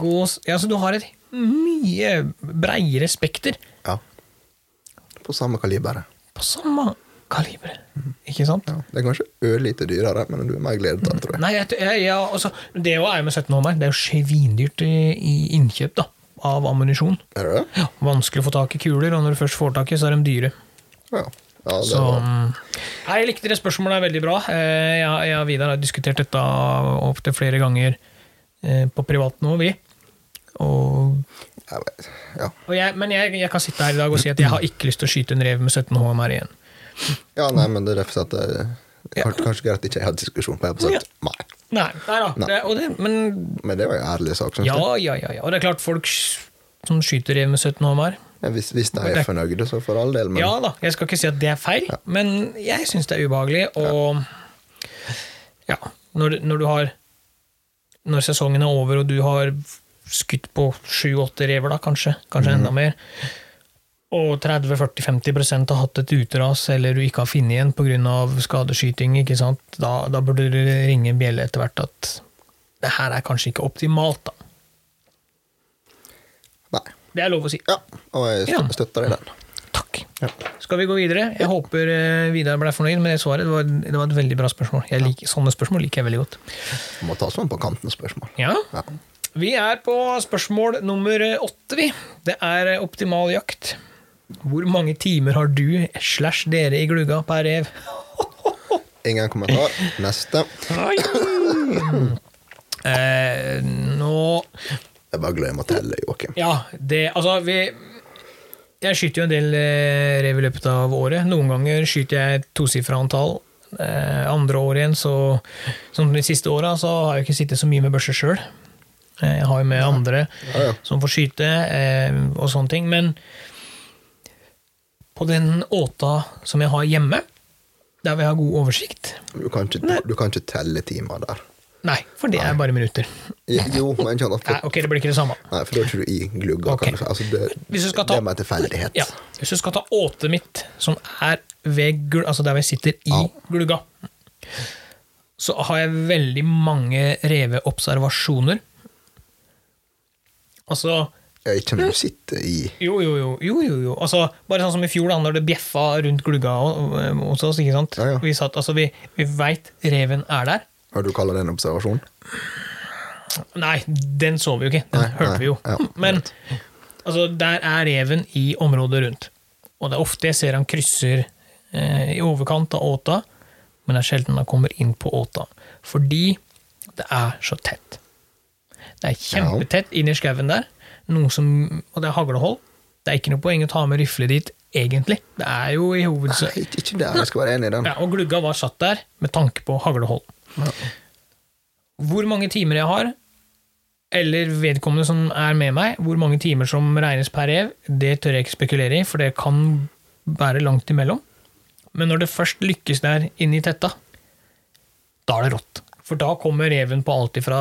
Speaker 1: Gås ja, så Du har et mye breiere spekter
Speaker 2: Ja. På samme kaliber.
Speaker 1: på samme kaliber. Ikke sant?
Speaker 2: Ja. Det er kanskje ørlite dyrere, men du er mer gledet av det, tror jeg.
Speaker 1: Nei, jeg, jeg, ja, altså, Det òg er jo med 17 håndverk. Det er jo svindyrt i, i innkjøp da, av ammunisjon.
Speaker 2: Er det det?
Speaker 1: Ja, vanskelig å få tak i kuler, og når du først får tak i, så er de dyre.
Speaker 2: Ja. ja det
Speaker 1: Så,
Speaker 2: var.
Speaker 1: nei, jeg likte det spørsmålet, det er veldig bra. Eh, Jeg, jeg og Vidar har diskutert dette opptil flere ganger eh, på privaten òg, vi. Og Og jeg, men jeg, jeg kan sitte her i dag og si at jeg har ikke lyst til å skyte en rev med 17 HMR igjen.
Speaker 2: Ja, nei, men det er derfor at det er kanskje, eh, kanskje greit at ikke jeg hadde diskusjon på episode.
Speaker 1: Ja.
Speaker 2: Nei.
Speaker 1: Nei, nei da. Det, og det, men
Speaker 2: Men det var jo en ærlig sak, syns
Speaker 1: Ja,
Speaker 2: jeg.
Speaker 1: ja, ja, ja. Og det er klart folk sk- som skyter rev med 17 HMR.
Speaker 2: Men Hvis, hvis de er
Speaker 1: det-
Speaker 2: fornøyde, så for all del, men
Speaker 1: Ja da, jeg skal ikke si at det er feil, men jeg syns det er ubehagelig, og ja, når, du- når du har Når sesongen er over, og du har skutt på sju-åtte rever, da, kanskje, kanskje enda mer, og 30-40-50 har hatt et utras eller du ikke har funnet igjen pga. skadeskyting, ikke sant? Da, da burde du ringe en bjelle etter hvert at det her er kanskje ikke optimalt, da.
Speaker 2: Nei.
Speaker 1: Det er lov å si.
Speaker 2: Ja, og jeg
Speaker 1: Ja.
Speaker 2: stø- støtter deg i den.
Speaker 1: Takk.
Speaker 2: Ja.
Speaker 1: Skal vi gå videre? Jeg håper eh, Vidar ble fornøyd med det svaret. Det var, det var et veldig bra spørsmål. Jeg liker, Sånne spørsmål liker jeg veldig godt.
Speaker 2: Må ta sånn på kanten-spørsmål.
Speaker 1: Ja,
Speaker 2: Ja.
Speaker 1: Vi er på spørsmål nummer åtte, vi. Det er eh, optimal jakt. Hvor mange timer har du slash dere i glugga per rev?
Speaker 2: Ingen kommentar. Neste.
Speaker 1: eh, nå
Speaker 2: Jeg bare glemmer å telle, Joakim.
Speaker 1: Ja, det Altså, vi Jeg skyter jo en del eh, rev i løpet av året. Noen ganger skyter jeg et tosifra antall. Eh, andre året igjen, så Som de siste åra, så har jeg jo ikke sittet så mye med børse sjøl. Eh, jeg har jo med andre
Speaker 2: Ja, ja.
Speaker 1: som får skyte, eh, og sånne ting. Men på den åta som jeg har hjemme, der vi har god oversikt
Speaker 2: Du kan ikke, du kan ikke telle timer der.
Speaker 1: Nei, for det er bare minutter.
Speaker 2: Jo, men ikke annet.
Speaker 1: Nei,
Speaker 2: For,
Speaker 1: ok, det blir ikke det samme.
Speaker 2: nei, for da er ikke du i glugga,
Speaker 1: Ok.
Speaker 2: kan du si. Altså, det,
Speaker 1: Hvis du skal ta-
Speaker 2: det er med tilfeldighet.
Speaker 1: Ja, Hvis du skal ta åtet mitt, som er ved gul, altså der vi sitter i
Speaker 2: Ja.
Speaker 1: glugga, så har jeg veldig mange reveobservasjoner. Altså
Speaker 2: Ja, ikke når du sitter i
Speaker 1: jo, jo, jo. jo, jo, jo. Altså, bare sånn som i fjor, da når det bjeffa rundt glugga og- og- hos oss. ikke sant?
Speaker 2: Ja, ja.
Speaker 1: Vi, satt, altså, vi, vi veit reven er der.
Speaker 2: Hva du kaller det en observasjon?
Speaker 1: Nei, den så vi jo ikke. Den
Speaker 2: Nei,
Speaker 1: hørte
Speaker 2: nei,
Speaker 1: vi jo.
Speaker 2: ja,
Speaker 1: Men altså, der er reven i området rundt. Og det er ofte jeg ser han krysser eh, i overkant av åta, men det er sjelden han kommer inn på åta. Fordi det er så tett. Det er kjempetett inn i skauen der, noe som, og det er haglehold. Det er ikke noe poeng å ta med rifle dit, egentlig. Det er jo i hovedsak
Speaker 2: Nei, ikke, ikke der. Jeg skal være enig i den.
Speaker 1: ja, og glugga var satt der med tanke på haglehold. Hvor mange timer jeg har, eller vedkommende som er med meg, hvor mange timer som regnes per rev, det tør jeg ikke spekulere i, for det kan være langt imellom. Men når det først lykkes der inne i tetta, da er det rått. For da kommer reven på alt ifra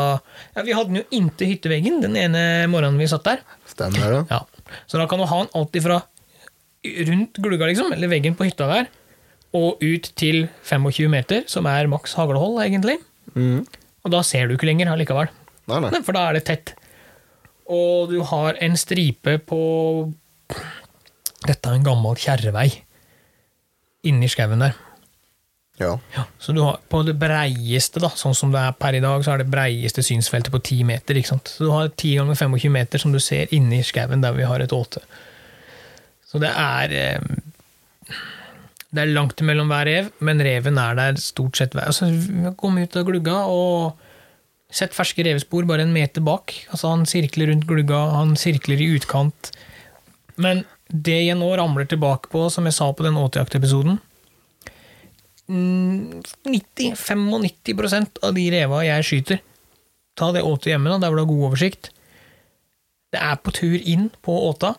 Speaker 1: ja, Vi hadde den jo inntil hytteveggen den ene morgenen vi satt der.
Speaker 2: Stemmer det?
Speaker 1: Ja. Så da kan du ha den alt ifra rundt glugga, liksom, eller veggen på hytta der, og ut til 25 meter, som er maks haglehold, egentlig.
Speaker 2: Mm.
Speaker 1: Og da ser du ikke lenger allikevel.
Speaker 2: Nei, nei.
Speaker 1: Nei, for da er det tett. Og du har en stripe på Dette er en gammel kjerrevei inni skauen der.
Speaker 2: Ja.
Speaker 1: Så du har på det breieste, da, sånn som det er per i dag, så er det breieste synsfeltet på 10 meter. ikke sant? Så du har 10 ganger 25 meter som du ser inni skauen der vi har et åte. Så det er eh, Det er langt mellom hver rev, men reven er der stort sett hver altså, Kom ut av glugga og sett ferske revespor bare en meter bak. Altså, han sirkler rundt glugga, han sirkler i utkant. Men det jeg nå ramler tilbake på, som jeg sa på den åtejakt-episoden, 90-95 av de reva jeg skyter Ta det åtet hjemme, da, der hvor du har god oversikt. Det er på tur inn på åta,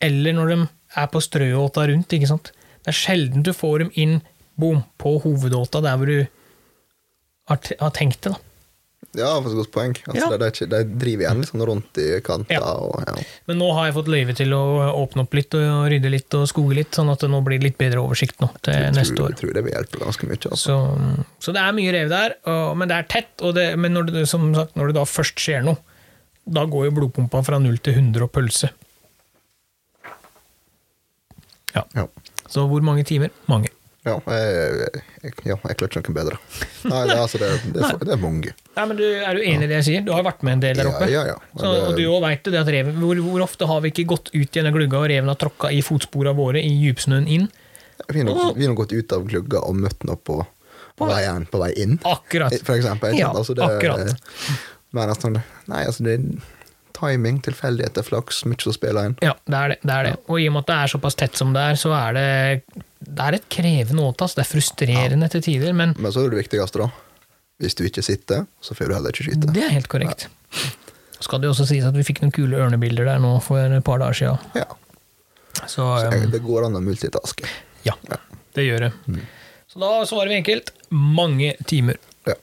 Speaker 1: eller når de er på strøåta rundt. ikke sant? Det er sjelden du får dem inn boom, på hovedåta, der hvor du har, t har tenkt det. da.
Speaker 2: Ja, for så godt poeng. Altså,
Speaker 1: Ja.
Speaker 2: de, de, er ikke- de driver igjen litt sånn rundt i kanter.
Speaker 1: Ja.
Speaker 2: Og, ja.
Speaker 1: Men nå har jeg fått løyve til å åpne opp litt og rydde litt og skoge litt, sånn at det nå blir litt bedre oversikt nå til neste
Speaker 2: tror,
Speaker 1: år.
Speaker 2: tror det vil hjelpe ganske mye. Altså.
Speaker 1: Så, så det er mye rev der, og, men det er tett. Og det, men når det, som sagt, når det da først skjer noe, da går jo blodpumpa fra 0 til 100 og pølse. Ja.
Speaker 2: Ja.
Speaker 1: Så hvor mange timer? Mange.
Speaker 2: Ja, jeg, jeg, ja, jeg klarte ikke noe bedre. Nei, det, altså, det, det, er for- det er mange.
Speaker 1: Nei, men du, Er du enig i det jeg sier? Du har vært med en del der
Speaker 2: Ja,
Speaker 1: oppe.
Speaker 2: ja, ja.
Speaker 1: Så, og du òg veit det. at reven, hvor, hvor ofte har vi ikke gått ut i denne glugga, og reven har tråkka i fotspora våre i djupsnøen inn?
Speaker 2: Vi har nok, vi har nok gått ut av glugga og møtt noe på, på, veien, på vei inn,
Speaker 1: Akkurat.
Speaker 2: Eh, for eksempel. ikke
Speaker 1: Ja,
Speaker 2: sant? Altså, det-
Speaker 1: akkurat.
Speaker 2: Men altså, nei, altså det, ta timing, tilfeldigheter, flaks, mye som spiller inn.
Speaker 1: Ja, det er det. det er det. Og i og med at det er såpass tett som det er, så er det, det er et krevende åt. ass. Det er frustrerende til tider, men
Speaker 2: Men så er det viktigste, da. Hvis du ikke sitter, så får du heller ikke skyte.
Speaker 1: det er helt korrekt. Skal det jo også sies at vi fikk noen kule ørnebilder der nå for et par dager siden.
Speaker 2: Ja.
Speaker 1: Så,
Speaker 2: Så
Speaker 1: eh,
Speaker 2: jeg, det går an å multitaske.
Speaker 1: ja, Mm. det gjør det. Så da svarer vi enkelt. Mange timer.
Speaker 2: Ja.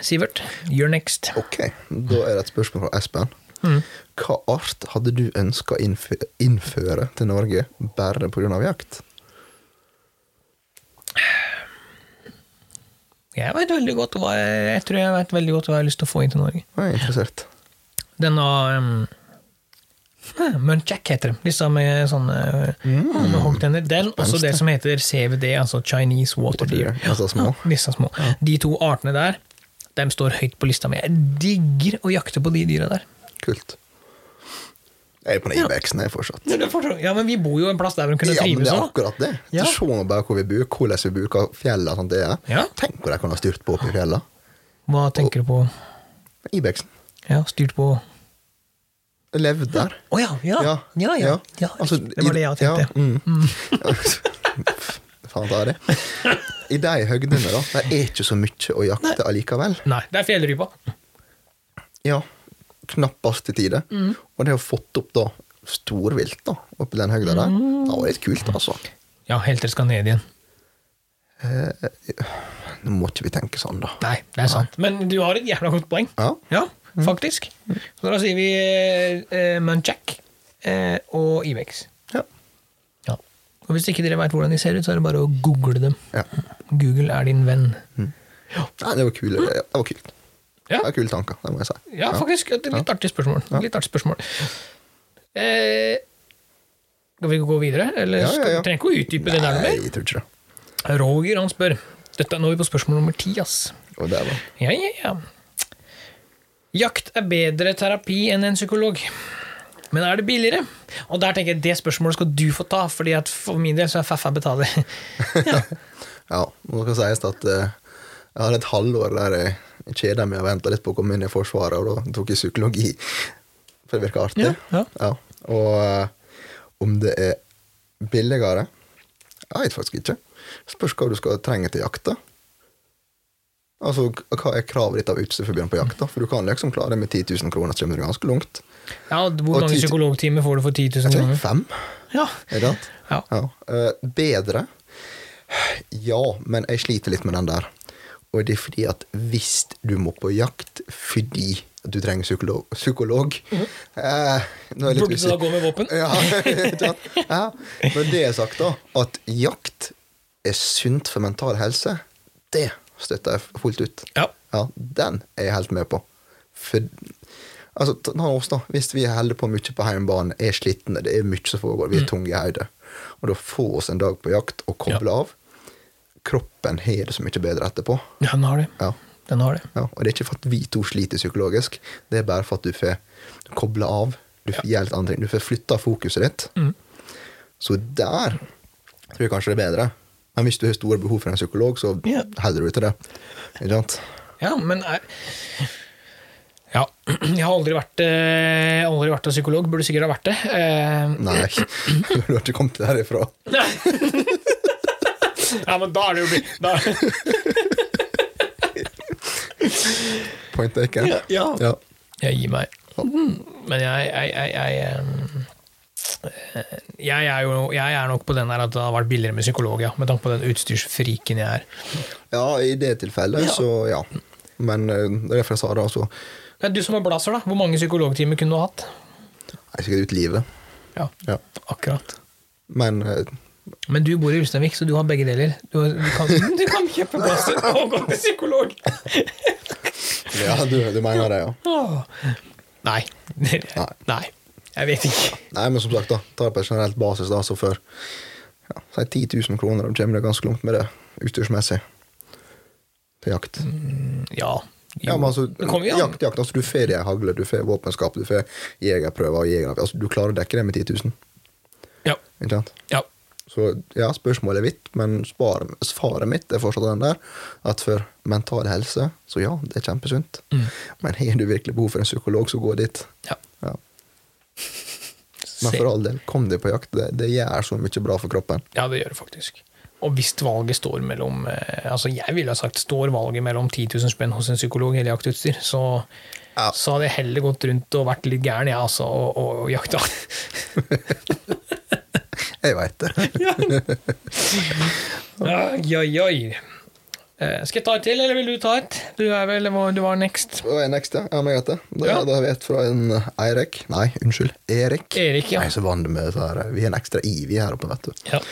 Speaker 1: Sivert, you're next.
Speaker 2: Ok, da er det et spørsmål fra Espen.
Speaker 1: Mm.
Speaker 2: Hva art hadde du ønska å innfø innføre til Norge bare pga. jakt?
Speaker 1: Jeg vet veldig godt hva jeg, jeg tror jeg vet veldig godt hva jeg har lyst til å få inn til Norge.
Speaker 2: Jeg er interessert.
Speaker 1: Denne um, Munchak heter det. Disse med sånne mm. hoggtenner. Den, også det som heter CVD, altså Chinese Water Deer.
Speaker 2: Altså små.
Speaker 1: Disse små. De to artene der, de står høyt på lista mi. Jeg digger å jakte på de dyra der.
Speaker 2: Kult. Jeg er på den Ibexen jeg fortsatt.
Speaker 1: Ja, det forstår- ja, men vi bor jo en plass der hvor de kunne
Speaker 2: Ja, men
Speaker 1: trives
Speaker 2: det er
Speaker 1: òg.
Speaker 2: akkurat det.
Speaker 1: Ja.
Speaker 2: Så Se nå bare hvor vi bor, hvordan vi bruker fjellet. og Sånt det er.
Speaker 1: Ja.
Speaker 2: Tenk hvor de kan ha styrt på oppi fjellet.
Speaker 1: Hva tenker du på?
Speaker 2: Ibexen.
Speaker 1: Ja, styrt på Å
Speaker 2: Levd der.
Speaker 1: ja, ja! Ja, ja. ja,
Speaker 2: Altså,
Speaker 1: riktig. det var det jeg tenkte.
Speaker 2: Ja, mm. Faen ta det. I de høgdene, da. Det er ikke så mye å jakte allikevel.
Speaker 1: Nei, det er fjellrypa.
Speaker 2: Ja, knappast til tide.
Speaker 1: Mm.
Speaker 2: Og det å fått opp da storvilt da, oppi den høgda der,
Speaker 1: Mm.
Speaker 2: det var litt kult, altså.
Speaker 1: Ja, helt til Skandinavia.
Speaker 2: Nå må ikke vi tenke sånn, da.
Speaker 1: Nei, det er sant. Men du har et jævla godt poeng.
Speaker 2: Ja,
Speaker 1: Ja,
Speaker 2: Mm.
Speaker 1: faktisk. Så da sier vi eh, Munchak eh, og Ibex.
Speaker 2: ja,
Speaker 1: Ja. Og hvis ikke dere veit hvordan de ser ut, så er det bare å google dem.
Speaker 2: ja.
Speaker 1: Google er din venn.
Speaker 2: Nei, det var kule,
Speaker 1: Mm.
Speaker 2: det var kult.
Speaker 1: Ja.
Speaker 2: Det var kule tanker, det må jeg si.
Speaker 1: Ja, faktisk. Et litt artig spørsmål. Litt artig spørsmål. Eh, skal vi gå videre? Eller
Speaker 2: Ja, ja,
Speaker 1: skal-
Speaker 2: ja.
Speaker 1: trenger ikke å utdype det der noe
Speaker 2: Nei,
Speaker 1: mer.
Speaker 2: jeg tror ikke det.
Speaker 1: Roger han spør. Dette er nå vi på spørsmål nummer ti, ass.
Speaker 2: Og det var
Speaker 1: Ja, ja, ja. Jakt er bedre terapi enn en psykolog. Men er det billigere? Og der tenker jeg det spørsmålet skal du få ta, fordi at for min del så er Faffa betaler.
Speaker 2: Ja, nå skal sies at eh, jeg hadde et halvår der jeg kjeda meg og venta litt på å komme inn i Forsvaret, og da tok jeg psykologi. For det virker artig.
Speaker 1: Ja, ja.
Speaker 2: Og eh, om det er billigere? Jeg vet faktisk ikke. Spørs hva du skal trenge til jakta. Altså, k- Hva er kravet ditt av utstyr for bjørn på jakta? For du kan liksom klare det med 10 000 kroner, så kommer du ganske langt.
Speaker 1: Ja, og hvor
Speaker 2: Og
Speaker 1: mange
Speaker 2: ti-
Speaker 1: psykologtimer får du for 10
Speaker 2: Jeg
Speaker 1: 000
Speaker 2: tror
Speaker 1: kroner?
Speaker 2: fem,
Speaker 1: Ja.
Speaker 2: er det sant?
Speaker 1: ja.
Speaker 2: Ja. eh, bedre? Ja, men jeg sliter litt med den der. Og det er fordi at hvis du må på jakt fordi du trenger psykolog, psykolog eh, nå er
Speaker 1: Mhm. Burde du
Speaker 2: jeg litt
Speaker 1: da
Speaker 2: usikker. Eh.
Speaker 1: gå med våpen?
Speaker 2: Ja, ikke sant? ja. Når det er sagt, da, at jakt er sunt for mental helse, det støtter jeg fullt ut.
Speaker 1: Ja.
Speaker 2: Ja, den er jeg helt med på. For, altså, ta ta oss da, Hvis vi holder på mye på hjemmebane, er slitne, det er mye som foregår, vi er tunge i hodet, og da få oss en dag på jakt og koble av Kroppen har det så mye bedre etterpå.
Speaker 1: ja, den har det.
Speaker 2: Ja,
Speaker 1: Den har det.
Speaker 2: ja. Og det er ikke for at vi to sliter psykologisk, det er bare for at du får koble av. Du får gjøre litt andre ting. Du får flytta fokuset ditt. Så der tror jeg kanskje det er bedre. Men hvis du har store behov for en psykolog, så
Speaker 1: Ja.
Speaker 2: holder du til det. Ikke sant?
Speaker 1: Ja, men er... Ja, jeg har aldri vært, eh, aldri vært en psykolog. Burde sikkert ha vært det. Eh,
Speaker 2: Nei, du har ikke kommet derifra.
Speaker 1: Nei. ja, men da er det jo bli- da,
Speaker 2: Point taken.
Speaker 1: Ja, ja.
Speaker 2: ja.
Speaker 1: Jeg gir meg. Men jeg jeg, jeg, jeg, ehm, jeg er jo jeg er nok på den der at det har vært billigere med psykolog, ja. Med tanke på den utstyrsfriken jeg er.
Speaker 2: Ja, i det tilfellet,
Speaker 1: Ja.
Speaker 2: så ja. Men eh, det er derfor jeg sa det, altså.
Speaker 1: Men du som er blazer, da. Hvor mange psykologtimer kunne du hatt?
Speaker 2: Jeg er sikkert ut livet.
Speaker 1: Ja,
Speaker 2: Ja.
Speaker 1: akkurat.
Speaker 2: Men eh,
Speaker 1: Men du bor i Ulsteinvik, så du har begge deler. Du, du, kan, du kan kjøpe blazer og gå til psykolog!
Speaker 2: ja, du, du mener det, ja.
Speaker 1: Åh. Nei. Nei. Jeg vet ikke.
Speaker 2: Nei, men som sagt, da, tar det på et generelt basis, da, så for ja, si 10 000 kroner, da kommer det ganske langt med det utstyrsmessig. Til jakt.
Speaker 1: Ja.
Speaker 2: Ja, men altså,
Speaker 1: Mm, Det kommer jo an.
Speaker 2: jakt, jakt. Altså, du får det hagle, du får våpenskap, du får jegerprøver og jeger... Altså, du klarer å dekke det med 10 000,
Speaker 1: Ja.
Speaker 2: ikke sant?
Speaker 1: ja.
Speaker 2: Så ja, spørsmålet er vidt, men spar- svaret mitt er fortsatt den der. At for mental
Speaker 1: Mm.
Speaker 2: helse, så ja, det er kjempesunt. Men har du virkelig behov for en psykolog, så gå dit.
Speaker 1: ja.
Speaker 2: Ja. Men
Speaker 1: Se-
Speaker 2: for all del, kom deg på jakt. Det, det gjør så mye bra for kroppen.
Speaker 1: Ja, det gjør det faktisk. Og hvis valget står mellom eh, altså Jeg ville ha sagt står valget mellom 10 000 spenn hos en psykolog eller jaktutstyr, så,
Speaker 2: Ja.
Speaker 1: så hadde jeg heller gått rundt og vært litt gæren, jeg, altså, og, og, og jakta.
Speaker 2: Jeg veit det.
Speaker 1: Oi, oi, oi. Eh, Skal jeg ta et til, eller vil du ta et? Du er vel Du var next.
Speaker 2: Og er next, ja. Ja, men greit, det. Da,
Speaker 1: Ja.
Speaker 2: da har vi et fra en Eirik Nei, unnskyld. Erik.
Speaker 1: Erik, E- ja.
Speaker 2: Jeg er så vant med dette her. Vi er en ekstra ivig her oppe, vet du.
Speaker 1: ja.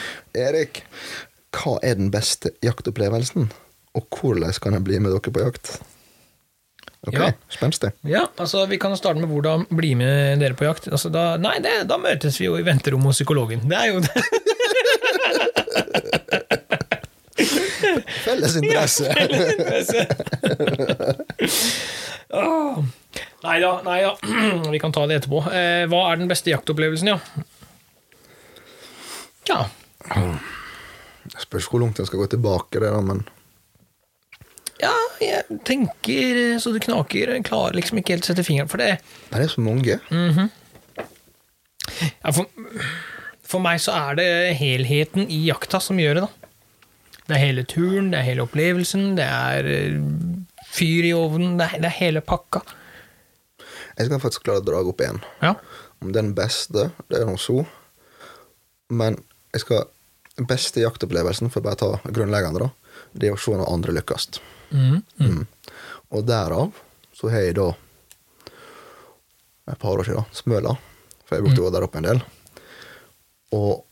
Speaker 2: Erik, hva er den beste jaktopplevelsen? Og hvordan kan jeg bli med dere på jakt? Ok,
Speaker 1: Ja.
Speaker 2: spenstig.
Speaker 1: Ja, altså Vi kan jo starte med hvordan bli med dere på jakt. Altså, da, nei, det, da møtes vi jo i venterommet hos psykologen. Det er jo det.
Speaker 2: Felles interesse.
Speaker 1: Nei da, nei da. Vi kan ta det etterpå. Eh, hva er den beste jaktopplevelsen, ja? Ja,
Speaker 2: Jeg Spørs hvor langt en skal gå tilbake, det da, men
Speaker 1: ja jeg tenker eh, så det knaker. Jeg Klarer liksom ikke helt å sette fingeren for det.
Speaker 2: men det er så mange.
Speaker 1: Ja, for, for meg så er det helheten i jakta som gjør det, da. Det er hele turen, det er hele opplevelsen, det er eh, fyr i ovnen, det er, det er hele pakka.
Speaker 2: Jeg skal faktisk klare å dra opp én.
Speaker 1: Ja.
Speaker 2: Om den beste, det er noe så. Men jeg skal den beste jaktopplevelsen, for å bare ta grunnleggende, da, det er å se når andre lykkes.
Speaker 1: Mm.
Speaker 2: Mm. Og derav så har jeg da et par år siden Smøla, for jeg brukte å gå der oppe en del. Og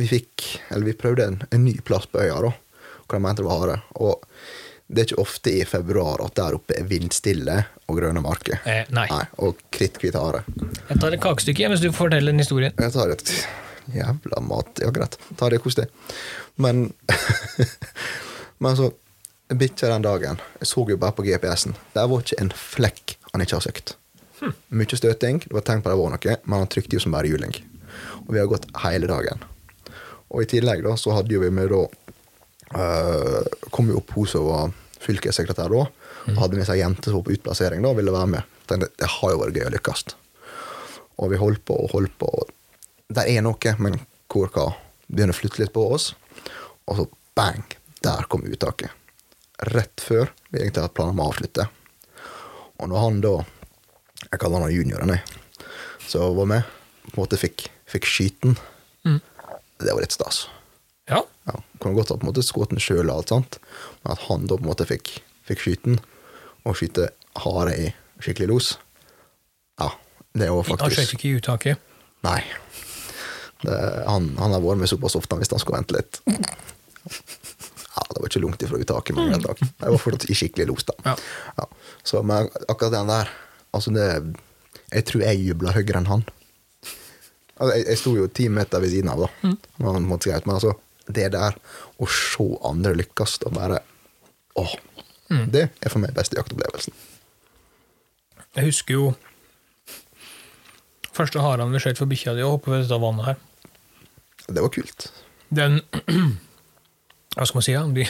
Speaker 2: vi fikk, eller vi prøvde en, en ny plass på øya, da, hvor de mente det var hare. Og det er ikke ofte i februar at der oppe er vindstille og grønne marker.
Speaker 1: Eh, nei.
Speaker 2: og kritthvite hare.
Speaker 1: Jeg tar et kakestykke jeg, hvis du forteller den historien.
Speaker 2: Jeg tar et jævla mat. Ja, greit. Ta det, kos deg. Men Men altså, bikkja den dagen Jeg så jo bare på GPS-en. Der var ikke en flekk han ikke har søkt. Mye støting, det var tegn på det var noe, men han trykte jo som bare juling. Og vi har gått hele dagen. Og i tillegg da, så hadde jo vi med da eh, Kom jo opp hun som var fylkessekretær da, og hadde med seg ei jente som var på utplassering da, og ville være med. Tenkte, det har jo vært gøy å lykkes. Og vi holdt på og holdt på. Og der er noe, men hvor hva? Begynner å flytte litt på oss. Og så bang! Der kom uttaket. Rett før vi egentlig hadde planer om å avslutte. Og når han da Jeg kaller han junioren, jeg. Så var med. På en måte fikk, fikk skyten.
Speaker 1: Mm.
Speaker 2: Det var litt stas.
Speaker 1: Ja.
Speaker 2: Ja, kunne godt ha på en måte skutt den sjøl, men at han da på en måte fikk, fikk skyte den, og skyte hare i skikkelig los Ja, det var
Speaker 1: Han skjøt
Speaker 2: faktisk
Speaker 1: ikke i uttaket.
Speaker 2: Nei. Det, han, han har vært med såpass ofte hvis han skulle vente litt. Ja, det var ikke langt ifra uttaket, men greit nok. Jeg var fortsatt i skikkelig los, da.
Speaker 1: Ja.
Speaker 2: Ja. Så, men akkurat den der altså det, Jeg tror jeg jubla høyere enn han. Altså, jeg, jeg sto jo ti meter ved siden av, da. Men, han måtte skrevet, men altså, det der å se andre lykkes og bare Åh! Det er for meg beste jaktopplevelsen.
Speaker 1: Jeg husker jo første haren vi skjøt for bikkja di, og hoppet ved dette vannet her.
Speaker 2: Det var kult.
Speaker 1: Den Hva skal man si? Ja? De,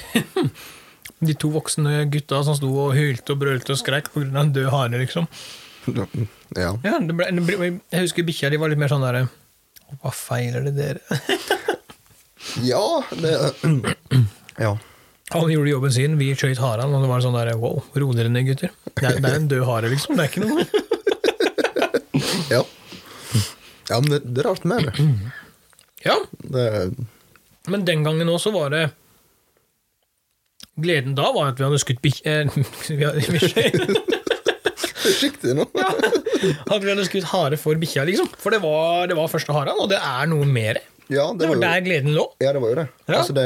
Speaker 1: de to voksne gutta som sto og hylte og brølte og skreik pga. en død hare, liksom.
Speaker 2: Ja.
Speaker 1: Ja, det ble, det ble, jeg husker bikkja di var litt mer sånn derre Hva feiler det dere?
Speaker 2: Ja, det Ja.
Speaker 1: Han gjorde jobben sin, vi skjøt haren, og det var sånn derre Wow, ro dere ned, gutter. Det er, det er en død hare, liksom. Det er ikke noe
Speaker 2: Ja. Ja, men det, det er rart med det.
Speaker 1: Ja,
Speaker 2: det er-
Speaker 1: Men den gangen òg så var det Gleden da var at vi hadde skutt bikk... Eh, vi hadde, vi skjøt-
Speaker 2: Forsiktig nå.
Speaker 1: at vi hadde skutt hare for bikkja, liksom. For det var, det var første haren, og det er noe mer.
Speaker 2: Ja,
Speaker 1: Det
Speaker 2: det var
Speaker 1: var
Speaker 2: jo
Speaker 1: der gleden lå.
Speaker 2: ja, det. Var jo det.
Speaker 1: Ja. Mm.
Speaker 2: Altså det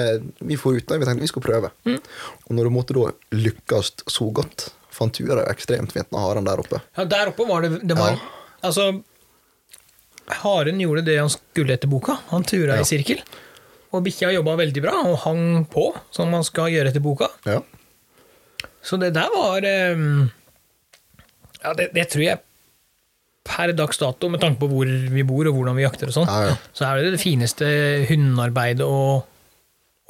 Speaker 2: vi for ut da, vi tenkte vi skulle prøve. Og når du måtte da lykkes så godt, fant du det ekstremt fint med haren der oppe.
Speaker 1: Ja, der oppe var det, det var,
Speaker 2: Ja.
Speaker 1: Altså Haren gjorde det han skulle etter boka. Han tura
Speaker 2: Ja.
Speaker 1: i sirkel. Og bikkja jobba veldig bra og hang på, som man skal gjøre etter boka.
Speaker 2: Ja.
Speaker 1: Så det der var eh, Ja, det, det tror jeg per dags dato, med tanke på hvor vi bor og hvordan vi jakter og sånn,
Speaker 2: Ja, ja.
Speaker 1: så er det det fineste hundearbeidet og,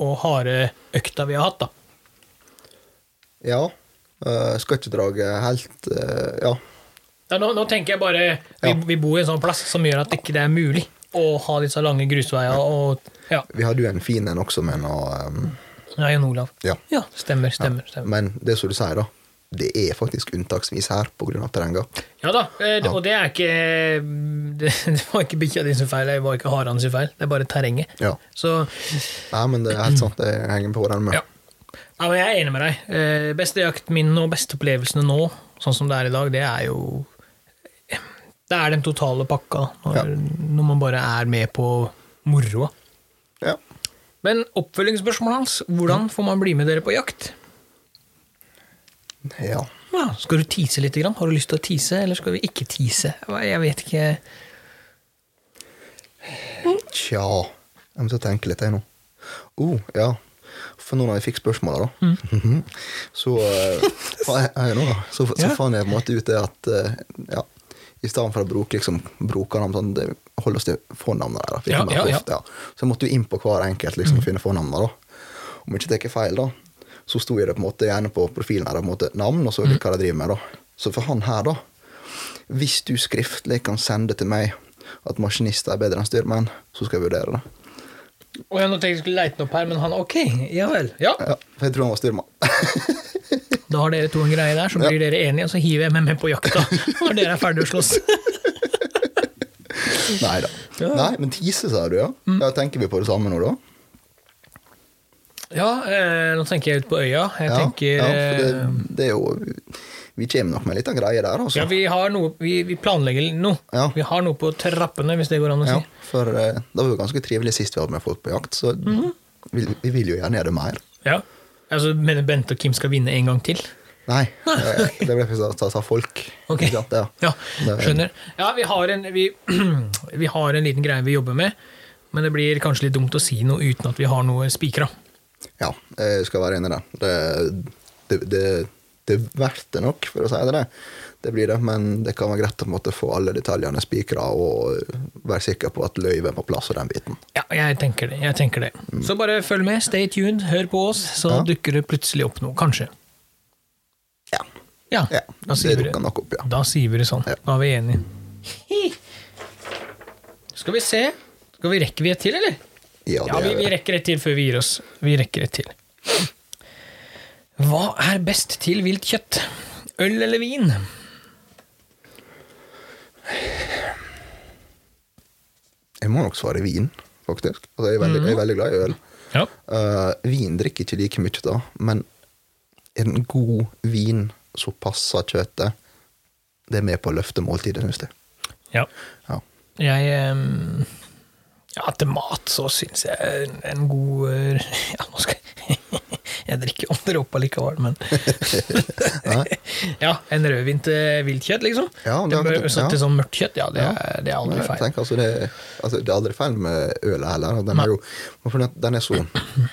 Speaker 1: og hareøkta vi har hatt, da.
Speaker 2: ja. Eh, skal ikke drage helt eh, Ja.
Speaker 1: Ja, nå, nå tenker jeg bare vi,
Speaker 2: Ja.
Speaker 1: vi bor i en sånn plass som gjør at ikke det er mulig å ha disse lange grusveiene og Ja,
Speaker 2: Vi hadde jo en fin en også, men og, ehm,
Speaker 1: ja Jon Olav.
Speaker 2: ja.
Speaker 1: Ja, stemmer, stemmer. stemmer.
Speaker 2: Men det er som du sier, da. Det er faktisk unntaksvis her pga. terrenget.
Speaker 1: Ja da, eh, det- og det er ikke Det, det var ikke bikkja di sin feil, det var ikke haren sin feil, det er bare terrenget.
Speaker 2: Ja.
Speaker 1: Så
Speaker 2: Nei, men det er helt sant. Jeg henger på den med.
Speaker 1: Ja. ja, men jeg er enig med deg. Eh, beste jaktminnene og beste opplevelsene nå, sånn som det er i dag, det er jo eh, Det er den totale pakka, da, når, når man bare er med på moroa.
Speaker 2: Ja.
Speaker 1: Men oppfølgingsspørsmålet hans, hvordan får man bli med dere på jakt?
Speaker 2: ja.
Speaker 1: Ja, skal du tease litt? Grann? Har du lyst til å tease, eller skal vi ikke tease? Jeg vet ikke.
Speaker 2: Tja Jeg må så tenke litt, jeg nå. Oh, ja. For nå når jeg fikk spørsmålet, da,
Speaker 1: Mm.
Speaker 2: Mhm. så eh, hva er- er jeg nå, da? Så, så
Speaker 1: Ja.
Speaker 2: fant jeg på en måte ut det at eh, ja, i stedet for å bruke liksom, brukernavn, sånn, det- holde oss til fornavnene der. da, for
Speaker 1: Ja,
Speaker 2: ikke mer
Speaker 1: ja, ja. Mm.
Speaker 2: ofte, ja. Så jeg måtte jo inn på hver enkelt liksom, finne fornavnene. da. Om jeg ikke tar feil, da, så sto jeg det på en måte gjerne på profilen her, da, på en måte navn, og så
Speaker 1: Mm.
Speaker 2: hva de driver med. da. Så for han her, da, hvis du skriftlig kan sende til meg at maskinister er bedre enn styrmenn, så skal jeg vurdere det.
Speaker 1: Og jeg nå tenkte jeg skulle leite den opp her, men han ok, ja vel. Ja.
Speaker 2: Ja, for jeg tror han var styrmann.
Speaker 1: Da har dere to en greie der, så blir dere enige, og så hiver jeg meg med på jakta når dere er ferdige å slåss.
Speaker 2: Nei da. Nei, men tise, sa du, ja?
Speaker 1: Mm.
Speaker 2: ja? Tenker vi på det samme nå, da?
Speaker 1: Ja, eh, nå tenker jeg ut på øya. Jeg
Speaker 2: Ja,
Speaker 1: tenker
Speaker 2: ja, for
Speaker 1: eh,
Speaker 2: det, det er jo Vi kommer nok med en liten greie der, altså.
Speaker 1: ja, vi, har noe, vi, vi planlegger noe.
Speaker 2: Ja.
Speaker 1: Vi har noe på trappene, hvis det går an å si.
Speaker 2: Ja, for eh, det var jo ganske trivelig sist vi hadde med folk på jakt, så
Speaker 1: Mhm.
Speaker 2: vi, vi vil jo gjerne gjøre det mer.
Speaker 1: Ja. Altså, Mener Bente og Kim skal vinne en gang til?
Speaker 2: Nei, eh, det ble faktisk å ta folk.
Speaker 1: Ok.
Speaker 2: Ikke sant? Ja.
Speaker 1: Ja,
Speaker 2: Det-
Speaker 1: skjønner. Ja, vi har, en, vi, vi har en liten greie vi jobber med, men det blir kanskje litt dumt å si noe uten at vi har noe spikra.
Speaker 2: Ja, jeg skal være enig i det. Det, det, det, det er verdt det nok, for å si det. Det blir det, men det kan være greit å på en måte få alle detaljene spikra og være sikker på at løyvet er på plass og den biten.
Speaker 1: Ja, jeg tenker det. jeg tenker det. Så bare følg med, stay tuned, hør på oss, så
Speaker 2: Mm. Ja.
Speaker 1: dukker det plutselig opp noe. Kanskje.
Speaker 2: Ja.
Speaker 1: Ja,
Speaker 2: ja
Speaker 1: da
Speaker 2: det
Speaker 1: sier vi det.
Speaker 2: dukker nok opp, ja.
Speaker 1: Da sier vi det sånn.
Speaker 2: Ja.
Speaker 1: Da er vi enige. Skal vi se. Skal vi rekke vi et til, eller?
Speaker 2: Ja,
Speaker 1: Ja,
Speaker 2: det
Speaker 1: vi,
Speaker 2: er
Speaker 1: vi
Speaker 2: det.
Speaker 1: rekker et til før vi gir oss. Vi rekker et til. Hva er best til vilt kjøtt? Øl eller vin?
Speaker 2: Jeg må nok svare vin, faktisk. Altså, jeg, er veldig,
Speaker 1: Mm.
Speaker 2: jeg er veldig glad i øl.
Speaker 1: Ja.
Speaker 2: Eh, vin drikker ikke like mye da, men en god vin som passer kjøttet, det er med på å løfte måltidet, syns jeg.
Speaker 1: ja.
Speaker 2: Ja.
Speaker 1: Jeg ehm, Ja, til mat så syns jeg en- en god eh, Ja, nå skal jeg Jeg drikker jo andre opp allikevel, men Ja, en rødvin til vilt kjøtt, liksom.
Speaker 2: Ja,
Speaker 1: det
Speaker 2: det er
Speaker 1: bør,
Speaker 2: akkurat-
Speaker 1: så,
Speaker 2: ja.
Speaker 1: Til sånn mørkt kjøtt, ja, det er, det er aldri
Speaker 2: Nei,
Speaker 1: feil.
Speaker 2: Tenk, altså, det, altså, det er aldri feil med ølet heller. og Den er jo hvorfor den- den er så hva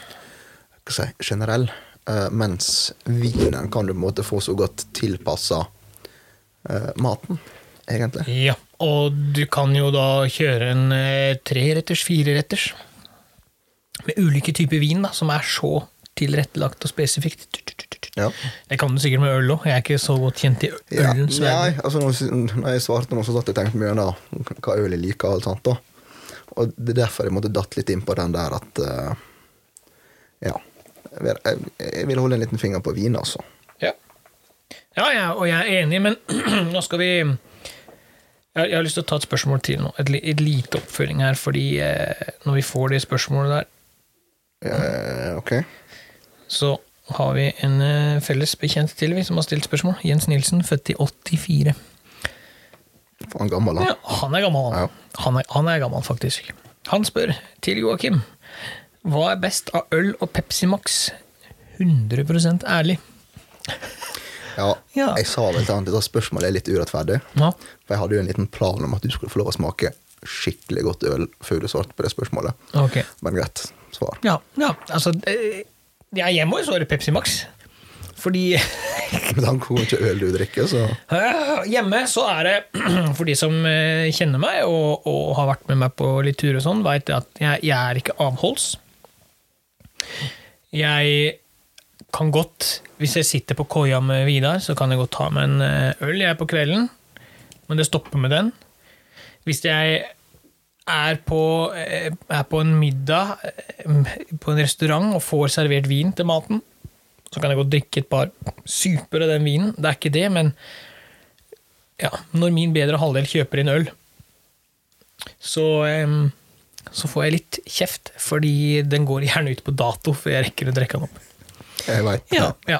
Speaker 2: skal jeg si, generell. eh, mens vinen kan du på en måte få så godt tilpassa maten, egentlig.
Speaker 1: Ja, og du kan jo da kjøre en eh, treretters, fireretters. Med ulike typer vin, da, som er så tilrettelagt og spesifikt.
Speaker 2: Ja.
Speaker 1: Det kan du sikkert med øl òg, jeg er ikke så godt kjent i
Speaker 2: Ja.
Speaker 1: ølens
Speaker 2: Nei,
Speaker 1: verden.
Speaker 2: altså, når, når jeg svarte nå, så satt jeg og tenkte mye da, hva øl jeg liker. Og alt sånt da. Og det er derfor jeg måtte datt litt inn på den der at eh, Ja. Jeg vil- Jeg, jeg vil holde en liten finger på vin, altså.
Speaker 1: Ja, ja, ja og jeg er enig, men nå skal vi jeg, jeg har lyst til å ta et spørsmål til nå. Et, li- et lite oppfølging her, fordi eh, når vi får det spørsmålet der,
Speaker 2: Eh, ok?
Speaker 1: så har vi en eh, felles bekjent til vi som har stilt spørsmål. Jens Nilsen, født i 84.
Speaker 2: Faen gammel, da.
Speaker 1: Ja, han er gammel, han. Han, er, han er gammel, faktisk. Han spør til Joakim hva er best av øl og Pepsi Max? 100 ærlig.
Speaker 2: Ja,
Speaker 1: Ja.
Speaker 2: jeg sa vel til han at dette spørsmålet er litt urettferdig.
Speaker 1: Ja.
Speaker 2: For jeg hadde jo en liten plan om at du skulle få lov å smake skikkelig godt øl før du svarte på det spørsmålet.
Speaker 1: Ok.
Speaker 2: Men greit, svar.
Speaker 1: Ja, ja altså eh, ja, Jeg må jo svare Pepsi Max. Fordi
Speaker 2: Med tanke på hvor mye øl du drikker, så
Speaker 1: Eh, Hjemme så er det, for de som eh, kjenner meg og, og har vært med meg på litt tur og sånn, veit at jeg, jeg er ikke avholds. Jeg kan godt, hvis jeg sitter på koia med Vidar, så kan jeg godt ta meg en eh, øl jeg på kvelden. men det stopper med den. Hvis jeg er på, eh, er på en middag eh, på en restaurant og får servert vin til maten, så kan jeg godt drikke et par super av den vinen. Det er ikke det, men ja, når min bedre halvdel kjøper inn øl, så, em, så får jeg litt kjeft, fordi den går gjerne ut på dato før jeg rekker å drikke den opp.
Speaker 2: Jeg vet.
Speaker 1: Ja, ja.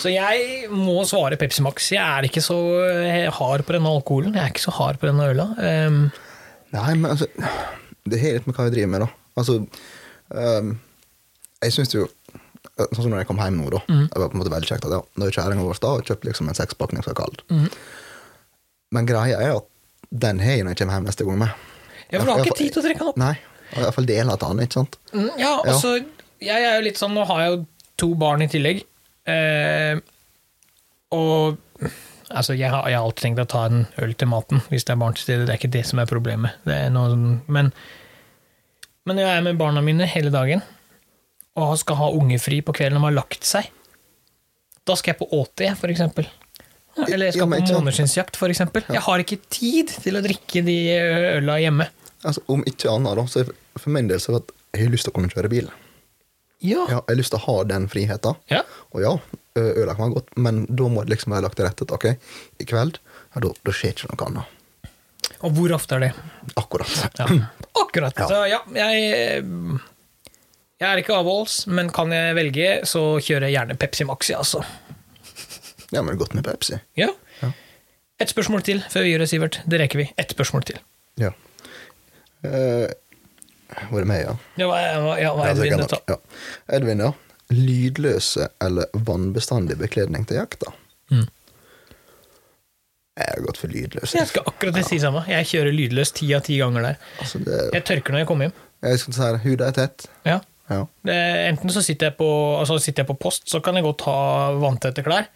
Speaker 1: Så jeg må svare Pepsi Max. Jeg er ikke så eh, hard på denne alkoholen. Jeg er ikke så hard på denne øla. Em,
Speaker 2: Nei, men altså Det har litt med hva jeg driver med, da. Altså ehm, Jeg syns jo Sånn som når jeg kom hjem nå, da.
Speaker 1: Mm.
Speaker 2: Det var på en måte veldig kjekt at ja, Nå er kjerringa vår da og kjøpte liksom en sekspakning som er kald.
Speaker 1: Mm.
Speaker 2: Men greia er at den har jeg når jeg kommer hjem neste gang med.
Speaker 1: Ja, for du har ikke tid til å drikke den opp.
Speaker 2: Nei. Og i hvert fall deler av den, ikke sant.
Speaker 1: Mm, Ja,
Speaker 2: Ja.
Speaker 1: altså, jeg er jo litt sånn Nå har jeg jo to barn i tillegg. Eh, og altså, jeg har, jeg har alltid tenkt å ta en øl til maten hvis det er barn til stede. Det er ikke det som er problemet. Det er noe, som- men, men når jeg er med barna mine hele dagen og skal ha ungefri på kvelden og har lagt seg, da skal jeg på åte, jeg, for eksempel. Eller jeg
Speaker 2: Ja,
Speaker 1: skal
Speaker 2: men
Speaker 1: på
Speaker 2: ikke sant.
Speaker 1: månedskinnsjakt, for eksempel. Jeg har ikke tid til å drikke de ø, øla hjemme.
Speaker 2: Altså, om ikke annet, da, så er for- for min del så er det at jeg har lyst til å kunne kjøre bil.
Speaker 1: Ja.
Speaker 2: Ja, jeg har lyst til å ha den friheten.
Speaker 1: ja.
Speaker 2: Og ja, ø- øla kan være godt, men da må det liksom være lagt til rette. ok? I kveld, ja, da, da skjer ikke noe annet.
Speaker 1: Og hvor ofte er det?
Speaker 2: Akkurat.
Speaker 1: Ja. Akkurat. Så ja, jeg Jeg er ikke avholds, men kan jeg velge, så kjører jeg gjerne Pepsi Maxi, altså.
Speaker 2: Ja, men det er godt med Pepsi.
Speaker 1: Ja. Et spørsmål til før vi gjør det, Sivert. Det rekker vi. Et spørsmål til.
Speaker 2: Ja. Eh, var det meg, ja?
Speaker 1: Ja, hva, hva- ja, hva
Speaker 2: Ja,
Speaker 1: er det
Speaker 2: sikkert
Speaker 1: vi
Speaker 2: nok.
Speaker 1: nødt til?
Speaker 2: Ja. Edvin, ja. Lydløse eller vannbestandig bekledning til jakta?
Speaker 1: Mm.
Speaker 2: Jeg har gått for lydløs.
Speaker 1: Jeg skal akkurat det si samme. Jeg kjører lydløst ti av ti ganger der.
Speaker 2: Altså, det,
Speaker 1: Jeg tørker når jeg kommer hjem.
Speaker 2: jeg skal si her, huden er tett.
Speaker 1: Ja.
Speaker 2: Ja.
Speaker 1: Det- Enten så sitter jeg på, altså sitter jeg på post, så kan jeg godt ha vanntette klær.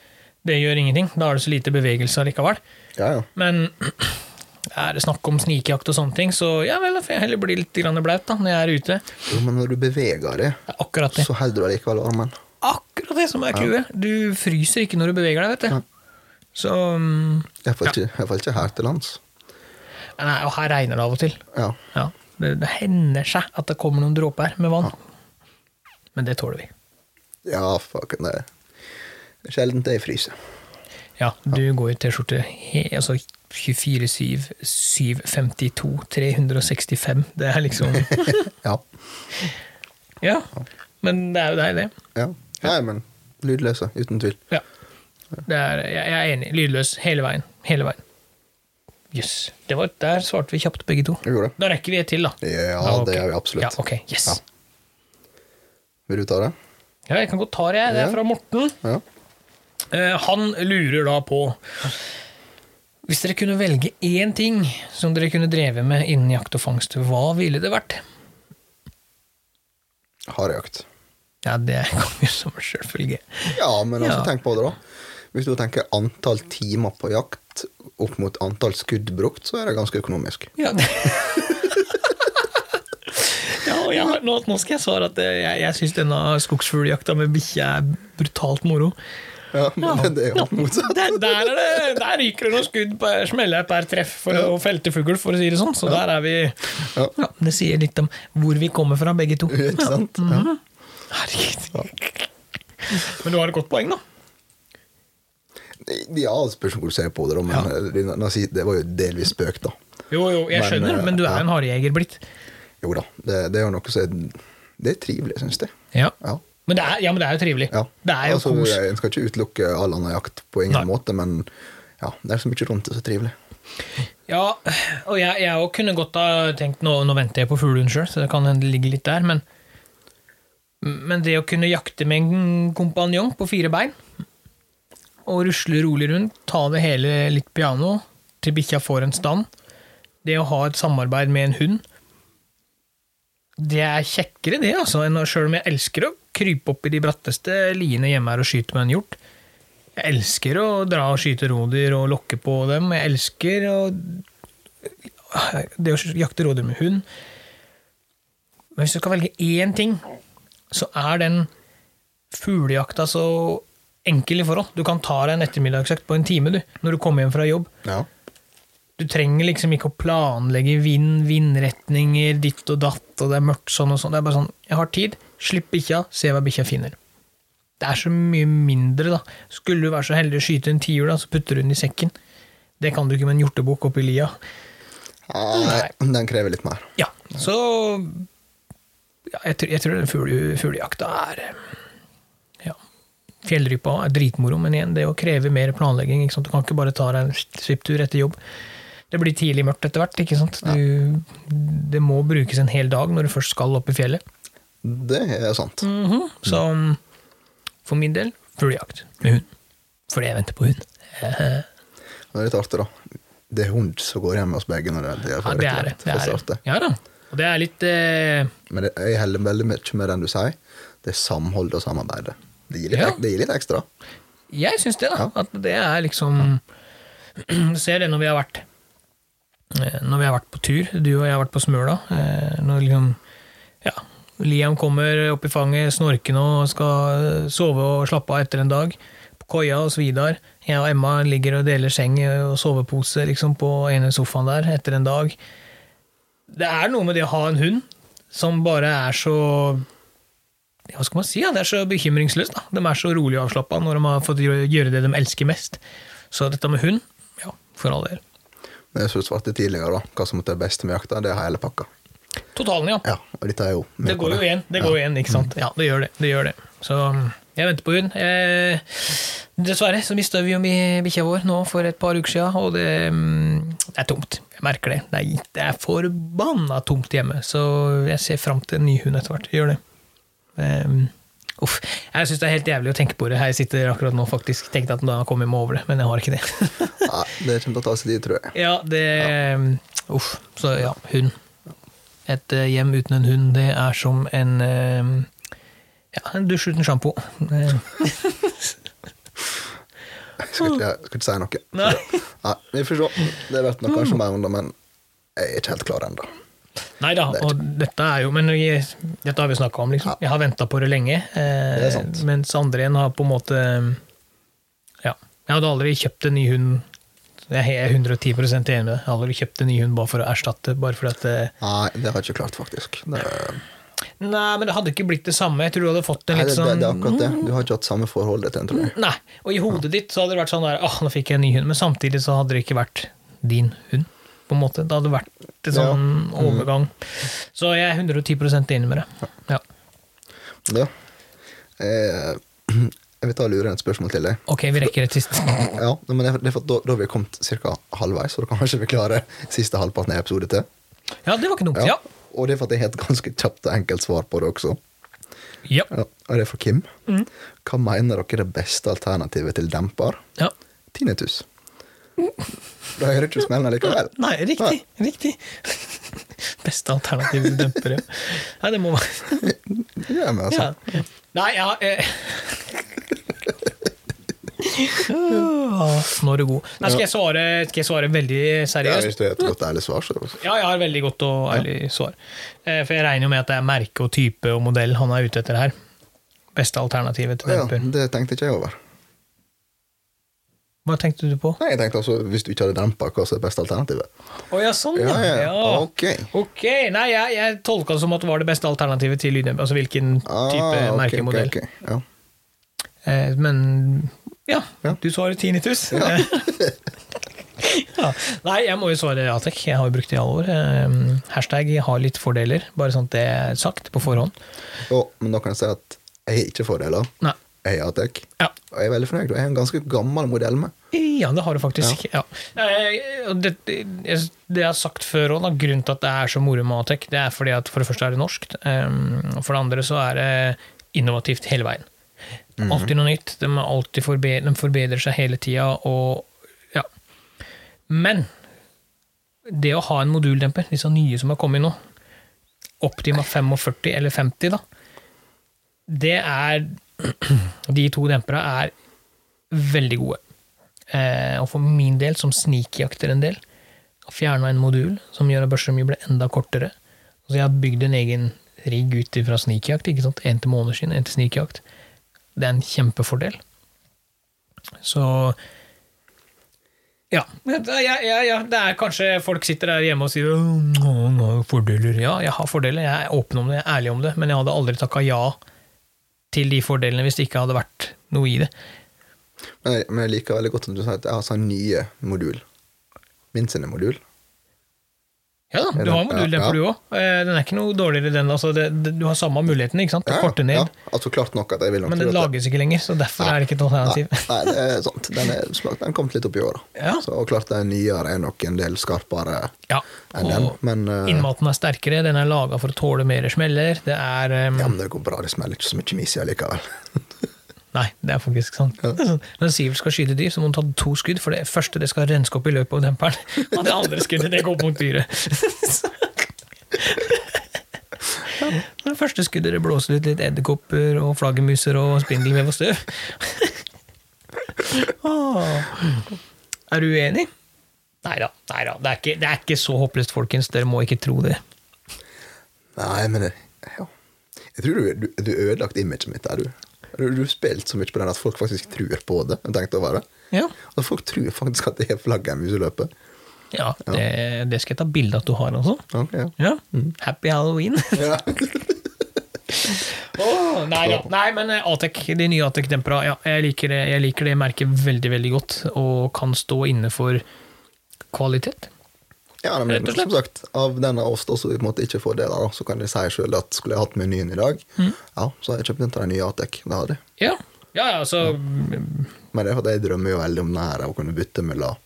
Speaker 1: Det gjør ingenting. Da er det så lite bevegelse allikevel.
Speaker 2: ja, ja.
Speaker 1: Men er det snakk om snikejakt og sånne ting, så ja vel, da får jeg heller bli litt grann blaut da, når jeg er ute.
Speaker 2: Jo, men når du beveger deg,
Speaker 1: Det er akkurat det.
Speaker 2: så holder du allikevel varmen.
Speaker 1: Akkurat det som er clouet. Du fryser ikke når du beveger deg, vet du. Så mm,
Speaker 2: Iallfall ikke, i hvert fall ikke her til lands.
Speaker 1: Nei, og her regner det av og til.
Speaker 2: Ja.
Speaker 1: Ja, det, det hender seg at det kommer noen dråper med vann. Men det tåler vi.
Speaker 2: Ja, fuck, det er sjelden jeg fryser.
Speaker 1: Ja, du går i T-skjorte he- altså 24-7, 752, 365. Det er liksom
Speaker 2: Ja.
Speaker 1: Ja. Men det er jo deg, det.
Speaker 2: ja. Nei, men lydløse, uten tvil.
Speaker 1: Ja. Det er, jeg, jeg er enig. Lydløs hele veien. Hele veien. Jøss. Det var- Der svarte vi kjapt, begge to.
Speaker 2: Jeg gjorde det.
Speaker 1: Da rekker vi et til, da.
Speaker 2: Ja,
Speaker 1: Ja, ok.
Speaker 2: det gjør vi absolutt.
Speaker 1: Ja, ok. Yes.
Speaker 2: Ja. Vil du ta det?
Speaker 1: Ja, jeg kan godt ta det, jeg. Det er
Speaker 2: Ja.
Speaker 1: fra Morten.
Speaker 2: Ja.
Speaker 1: Eh, han lurer da på Hvis dere kunne velge én ting som dere kunne drevet med innen jakt og fangst, hva ville det vært?
Speaker 2: Harejakt.
Speaker 1: Ja, det kom jo som en selvfølge.
Speaker 2: Ja, men altså,
Speaker 1: Ja.
Speaker 2: tenk på det, da. Hvis du tenker antall timer på jakt opp mot antall skudd brukt, så er det ganske økonomisk.
Speaker 1: Ja, det. ja, og jeg, har- nå, nå skal jeg svare at eh, jeg, jeg syns denne skogsfugljakta med bikkje er brutalt moro.
Speaker 2: Ja, men
Speaker 1: Ja.
Speaker 2: det er jo
Speaker 1: Ja.
Speaker 2: motsatt.
Speaker 1: Der, der, er det, der ryker det noen skudd per smelle per treff for, og feltefugl, for å si det sånn. Så der er vi
Speaker 2: Ja.
Speaker 1: ja, Det sier litt om hvor vi kommer fra, begge to.
Speaker 2: Ikke sant? Ja.
Speaker 1: Herregud. Men du har et godt poeng, da.
Speaker 2: ja, spørs hvor du ser på det, da, men eh, nå si- det var jo delvis spøk, da.
Speaker 1: Jo, jo, jeg
Speaker 2: Men,
Speaker 1: skjønner,
Speaker 2: eh,
Speaker 1: men du er
Speaker 2: ja.
Speaker 1: en harejeger blitt.
Speaker 2: Jo da, det, det er jo noe som er Det er trivelig, syns jeg.
Speaker 1: Ja.
Speaker 2: Ja.
Speaker 1: Men det er, ja, men det er jo trivelig.
Speaker 2: Ja.
Speaker 1: Det er jo
Speaker 2: altså,
Speaker 1: kos.
Speaker 2: En skal ikke utelukke all annen jakt på ingen
Speaker 1: Nei.
Speaker 2: måte, men ja, det er så mye rundt det som er trivelig.
Speaker 1: Ja, og jeg, jeg også kunne godt ha tenkt Nå, nå venter jeg på fuglehund sjøl, så det kan hende det ligger litt der, men Men det å kunne jakte med en kompanjong på fire bein, og rusle rolig rundt, ta det hele litt piano, til bikkja får en stand Det å ha et samarbeid med en hund Det er kjekkere, det, altså, enn å- sjøl om jeg elsker å krype opp i de bratteste liene hjemme her og skyte med en hjort. Jeg elsker å dra og skyte rådyr og lokke på dem. Jeg elsker å Eh, det å jakte rådyr med hund. Men hvis du skal velge én ting, så er den fuglejakta så enkel i forhold. Du kan ta deg en ettermiddagsøkt på en time du, når du kommer hjem fra jobb.
Speaker 2: Ja.
Speaker 1: Du trenger liksom ikke å planlegge vind, vindretninger, ditt og datt, og det er mørkt sånn og sånn. Det er bare sånn, jeg har tid, slipp bikkja, se hva bikkja finner. Det er så mye mindre, da. Skulle du være så heldig å skyte en tiur, da, så putter du den i sekken. Det kan du ikke med en hjortebukk oppi lia.
Speaker 2: Nei, den krever litt mer.
Speaker 1: Ja, så ja, jeg, tror, jeg tror den fugle, fuglejakta er eh, ja. Fjellrypa er dritmoro, men igjen, det å kreve mer planlegging. Ikke sant? Du kan ikke bare ta deg en svipptur etter jobb. Det blir tidlig mørkt etter hvert. ikke sant? Du, det må brukes en hel dag når du først skal opp i fjellet.
Speaker 2: Det er sant.
Speaker 1: Så mm, for min del, fuglejakt med hund. Fordi jeg venter på hund.
Speaker 2: Det er litt artig, da. Det er hund som går hjem med oss begge. Når det, det,
Speaker 1: Ja, det er det. det, er det. Ja da. Og det er litt eh,
Speaker 2: Men det, jeg heller veldig mye med den du sier. Det er samhold og samarbeid. Det gir litt,
Speaker 1: Ja.
Speaker 2: ek- det gir litt ekstra.
Speaker 1: Jeg syns det, da. At det er liksom Ser det når vi har vært eh, Når vi har vært på tur. Du og jeg har vært på Smøla. eh, Når liksom Ja. Liam kommer opp i fanget snorkende og skal eh, sove og slappe av etter en dag. På koia hos Vidar. Jeg og Emma ligger og deler seng og sovepose liksom, på ene sofaen der etter en dag. Det er noe med det å ha en hund som bare er så ja, hva skal man si, ja, det er så bekymringsløst. da. De er så rolig og avslappa når de har fått gjø- gjøre det de elsker mest. Så dette med hund, ja, for all del.
Speaker 2: Men jeg som du svarte tidligere, da, hva som er det beste med jakta, det er hele pakka.
Speaker 1: Totalen, ja.
Speaker 2: Ja, og dette er jo med
Speaker 1: Det
Speaker 2: på
Speaker 1: går jo igjen, det går jo igjen, ikke sant. Ja, det gjør det. det gjør det. Så mm, jeg venter på hund. Eh, dessverre så mista vi jo bi- bikkja vår nå for et par uker siden, og det, mm, det er tomt. Jeg merker det. Det er, det er forbanna tomt hjemme, så jeg ser fram til en ny hund etter hvert. Jeg Gjør det. Ehm, uff. Jeg syns det er helt jævlig å tenke på det. Her jeg sitter akkurat nå faktisk tenkte at da kommer jeg meg over det, men jeg har ikke det.
Speaker 2: Nei, det kommer til å ta sin tid, tror jeg.
Speaker 1: ja, det Uff. Så ja, hund. Et eh, hjem uten en hund, det er som en eh, ja, en dusj uten sjampo. Eh,
Speaker 2: Jeg skal ikke, jeg skal ikke si noe.
Speaker 1: Nei.
Speaker 2: Nei, vi får se. Det blir nok kanskje mer under, men jeg er ikke helt klar ennå.
Speaker 1: Nei da, og dette er jo Men jeg, dette har vi snakka om, liksom. Jeg har venta på det lenge. Eh,
Speaker 2: Det er sant.
Speaker 1: Mens andre igjen har på en måte Ja. Jeg hadde aldri kjøpt en ny hund. Jeg er 110 enig med deg. Jeg hadde aldri kjøpt en ny hund bare for å erstatte. Bare fordi at eh,
Speaker 2: Nei, det har jeg ikke klart, faktisk. Det, nei,
Speaker 1: Nei, men det hadde ikke blitt det samme. Jeg tror du hadde fått en
Speaker 2: det,
Speaker 1: litt
Speaker 2: det,
Speaker 1: sånn
Speaker 2: det er akkurat det. Du har ikke hatt samme forhold til den, tror jeg.
Speaker 1: Nei. Og i hodet ditt så hadde det vært sånn der Åh, nå fikk jeg en ny hund. Men samtidig så hadde det ikke vært din hund. På en måte. Det hadde vært en sånn overgang. Så jeg er 110 enig med deg. Ja. Mm.
Speaker 2: Ja. Eh, jeg vil ta og lure inn et spørsmål til deg.
Speaker 1: Ok, vi rekker et siste.
Speaker 2: Ja, men det, er- det er for, at da, da har vi kommet ca. halvveis, så da kan kanskje vi klare siste halvparten av episoden til.
Speaker 1: Ja, det var ikke dumt. Ja.
Speaker 2: Og det er for at jeg har et ganske kjapt og enkelt svar på det også.
Speaker 1: Ja.
Speaker 2: Ja, og det er fra Kim.
Speaker 1: Mm.
Speaker 2: Hva mener dere er det beste alternativet til demper?
Speaker 1: ja.
Speaker 2: Tinnitus. Da hører du ikke smellen likevel.
Speaker 1: Nei, riktig. Riktig. Beste alternativ til dempere. Nei, det må være
Speaker 2: Ja, men altså.
Speaker 1: ja. Nei, ja eh. Åh, Nå er du god. Nei, skal, jeg svare, skal jeg svare veldig
Speaker 2: Ja, hvis
Speaker 1: seriøst?
Speaker 2: det er et godt ærlig svar, så
Speaker 1: Ja, jeg har veldig godt og ærlig svar. Eh, For jeg regner jo med at det er merke og type og modell han er ute etter her. Beste alternativet til
Speaker 2: ja,
Speaker 1: demper.
Speaker 2: Det tenkte ikke jeg over.
Speaker 1: Hva tenkte du på?
Speaker 2: Nei, jeg tenkte altså, Hvis du ikke hadde dempa, hva som er det beste alternativet?
Speaker 1: Å ja, sånn,
Speaker 2: Ja,
Speaker 1: ja.
Speaker 2: ja, ja.
Speaker 1: Ja.
Speaker 2: Ok.
Speaker 1: Ok, Nei, jeg, jeg tolka det som at det var det beste alternativet til lyddemper. Altså hvilken type
Speaker 2: Ah, ok,
Speaker 1: merkemodell.
Speaker 2: ok, ok. Ja.
Speaker 1: Eh, men ja,
Speaker 2: Ja.
Speaker 1: du svarer tinnitus. Ja. Nei, jeg må jo svare ja takk. Jeg har jo brukt det i alle år. Eh, hashtag har litt fordeler, bare sånn at det er sagt på forhånd.
Speaker 2: Og, men da kan jeg si at jeg har ikke fordeler.
Speaker 1: Nei.
Speaker 2: Jeg har Atec.
Speaker 1: Ja.
Speaker 2: Og jeg er veldig fornøyd. Og jeg er en ganske gammel modell med.
Speaker 1: Ja, det har du faktisk. Ja. Eh, og Det, det, det jeg har sagt før òg, grunnen til at det er så moro med Atec, det er fordi at for det første er det norskt, eh, og for det andre så er det innovativt hele veien. Det er Alltid noe nytt. De, er alltid forbedrer, de forbedrer seg hele tida, og ja. Men det å ha en moduldemper, disse nye som har kommet nå, Optima 45 eller 50, da, det er De to dempera er veldig gode. Eh, og for min del, som snikjakter en del, fjerna en modul som gjør at børsa mi ble enda kortere. Så jeg har bygd en egen rigg ut fra snikjakt. ikke sant? En til måneskinn, en til snikjakt. Det er en kjempefordel. Så Ja. men det- Ja, ja, ja. Det er kanskje folk sitter der hjemme og sier «Åh, nå, nå er det fordeler. Ja, jeg har fordeler. Jeg er åpen om det, jeg er ærlig om det. Men jeg hadde aldri takka ja til de fordelene hvis det ikke hadde vært noe i det.
Speaker 2: Men jeg, men jeg liker veldig godt at du sier at jeg har sånn nye modul. Min sine modul.
Speaker 1: Ja da, du har moduldemper du òg. Den er ikke noe dårligere den. Altså, det, det, du har samme muligheten, ikke sant? Du
Speaker 2: Ja,
Speaker 1: korter ned.
Speaker 2: ja. Altså klart nok at jeg vil nok
Speaker 1: Men
Speaker 2: til
Speaker 1: den
Speaker 2: dette.
Speaker 1: lages ikke lenger, så derfor er det ikke et
Speaker 2: Nei,
Speaker 1: alternativ.
Speaker 2: nei, det er sant. Den, er, smak- den kom litt opp i åra.
Speaker 1: Ja.
Speaker 2: Så og klart den nyere er nok en del skarpere
Speaker 1: Ja,
Speaker 2: enn den.
Speaker 1: og
Speaker 2: Men eh,
Speaker 1: innmaten er sterkere, den er laga for å tåle mer smeller. Det er eh,
Speaker 2: ja, men det går bra. Det smeller ikke så mye mis i allikevel.
Speaker 1: Nei, det er faktisk sant. Det er sånn, Når Sivert skal skyte dyr, så må han ta to skudd, for det første det skal renske opp i løpet av demperen, og det andre skuddet det går mot dyret. Så- Det første skuddet det blåser ut litt edderkopper og flaggermuser og spindelvev og støv. Åh. Ah. Er du uenig? Nei da. Nei da. Det, er ikke- det er ikke så håpløst, folkens. Dere må ikke tro det.
Speaker 2: Nei, men det, ja. Jeg tror du, du, du ødelagt imaget mitt der, du. Du, du har spilt så mye på den at folk faktisk tror på det. Jeg tenkte over det.
Speaker 1: Ja.
Speaker 2: At folk tror faktisk at det er flagget i museløpet.
Speaker 1: Ja, det, det skal jeg ta bilde av at du har også.
Speaker 2: Ja,
Speaker 1: Ja.
Speaker 2: ja.
Speaker 1: Happy Halloween.
Speaker 2: Ja.
Speaker 1: Åh, nei, ja. nei, men eh, Atec, de nye Atec-dempera, ja, jeg liker det, jeg liker det merket veldig, veldig godt, og kan stå inne for kvalitet.
Speaker 2: Ja, nei,
Speaker 1: Rett
Speaker 2: men
Speaker 1: og
Speaker 2: som sagt, av den av oss da, som på en måte ikke får deler, da, så kan de si sjøl at skulle jeg hatt menyen i dag,
Speaker 1: Mm.
Speaker 2: ja, så hadde jeg kjøpt en av de nye Atec. Det hadde jeg.
Speaker 1: Ja, ja, ja altså
Speaker 2: Men det er fordi jeg drømmer jo veldig om den her, å kunne bytte mellom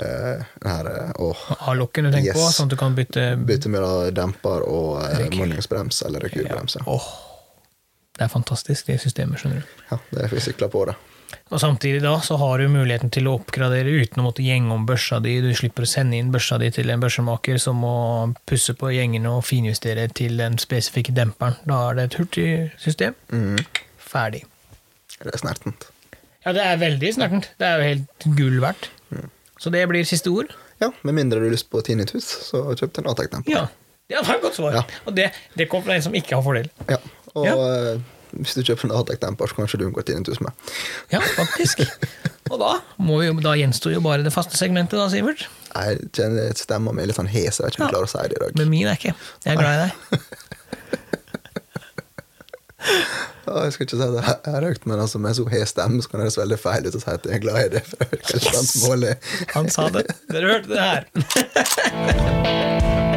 Speaker 2: eh, den her, eh, åh,
Speaker 1: A-lokken du tenker på,
Speaker 2: Yes.
Speaker 1: sånn at du kan bytte
Speaker 2: bytte mellom demper og eh,
Speaker 1: Rekyl.
Speaker 2: munningsbrems eller rekylbrems. Ja.
Speaker 1: Åh, Det er fantastisk, det systemet, skjønner du.
Speaker 2: ja, det er jeg sikla på, det.
Speaker 1: Og samtidig da så har du muligheten til å oppgradere uten å måtte gjenge om børsa di. Du slipper å sende inn børsa di til en børsemaker som må pusse på gjengene og finjustere til den spesifikke demperen. Da er det et hurtig system. Ferdig.
Speaker 2: Det er snertent.
Speaker 1: Ja, det er veldig snertent. Det er jo helt gull verdt. Så det blir siste ord.
Speaker 2: Ja, med mindre du har lyst på tinnitus, så kjøp en Atec-demper.
Speaker 1: Ja, det var et godt svar.
Speaker 2: Ja.
Speaker 1: Og det, det kom fra en som ikke har fordel.
Speaker 2: Ja. Og
Speaker 1: Ja.
Speaker 2: eh, hvis du kjøper en Atec-demper, så kan ikke du unngå tinnitus med.
Speaker 1: Ja, faktisk. Og da, må vi, jo- da gjenstår jo bare det faste segmentet, da, Sivert.
Speaker 2: Jeg kjenner stemma mi er litt sånn hes, jeg vet ikke om jeg klarer å si det i dag.
Speaker 1: Men min er ikke. Jeg er glad i deg.
Speaker 2: Ja, jeg skal ikke si det her høyt, men altså, med så hes stemme så kan det høres veldig feil ut å si at jeg er glad i det. For det virker helt
Speaker 1: Yes!
Speaker 2: yes!
Speaker 1: Han sa det. Dere hørte det her.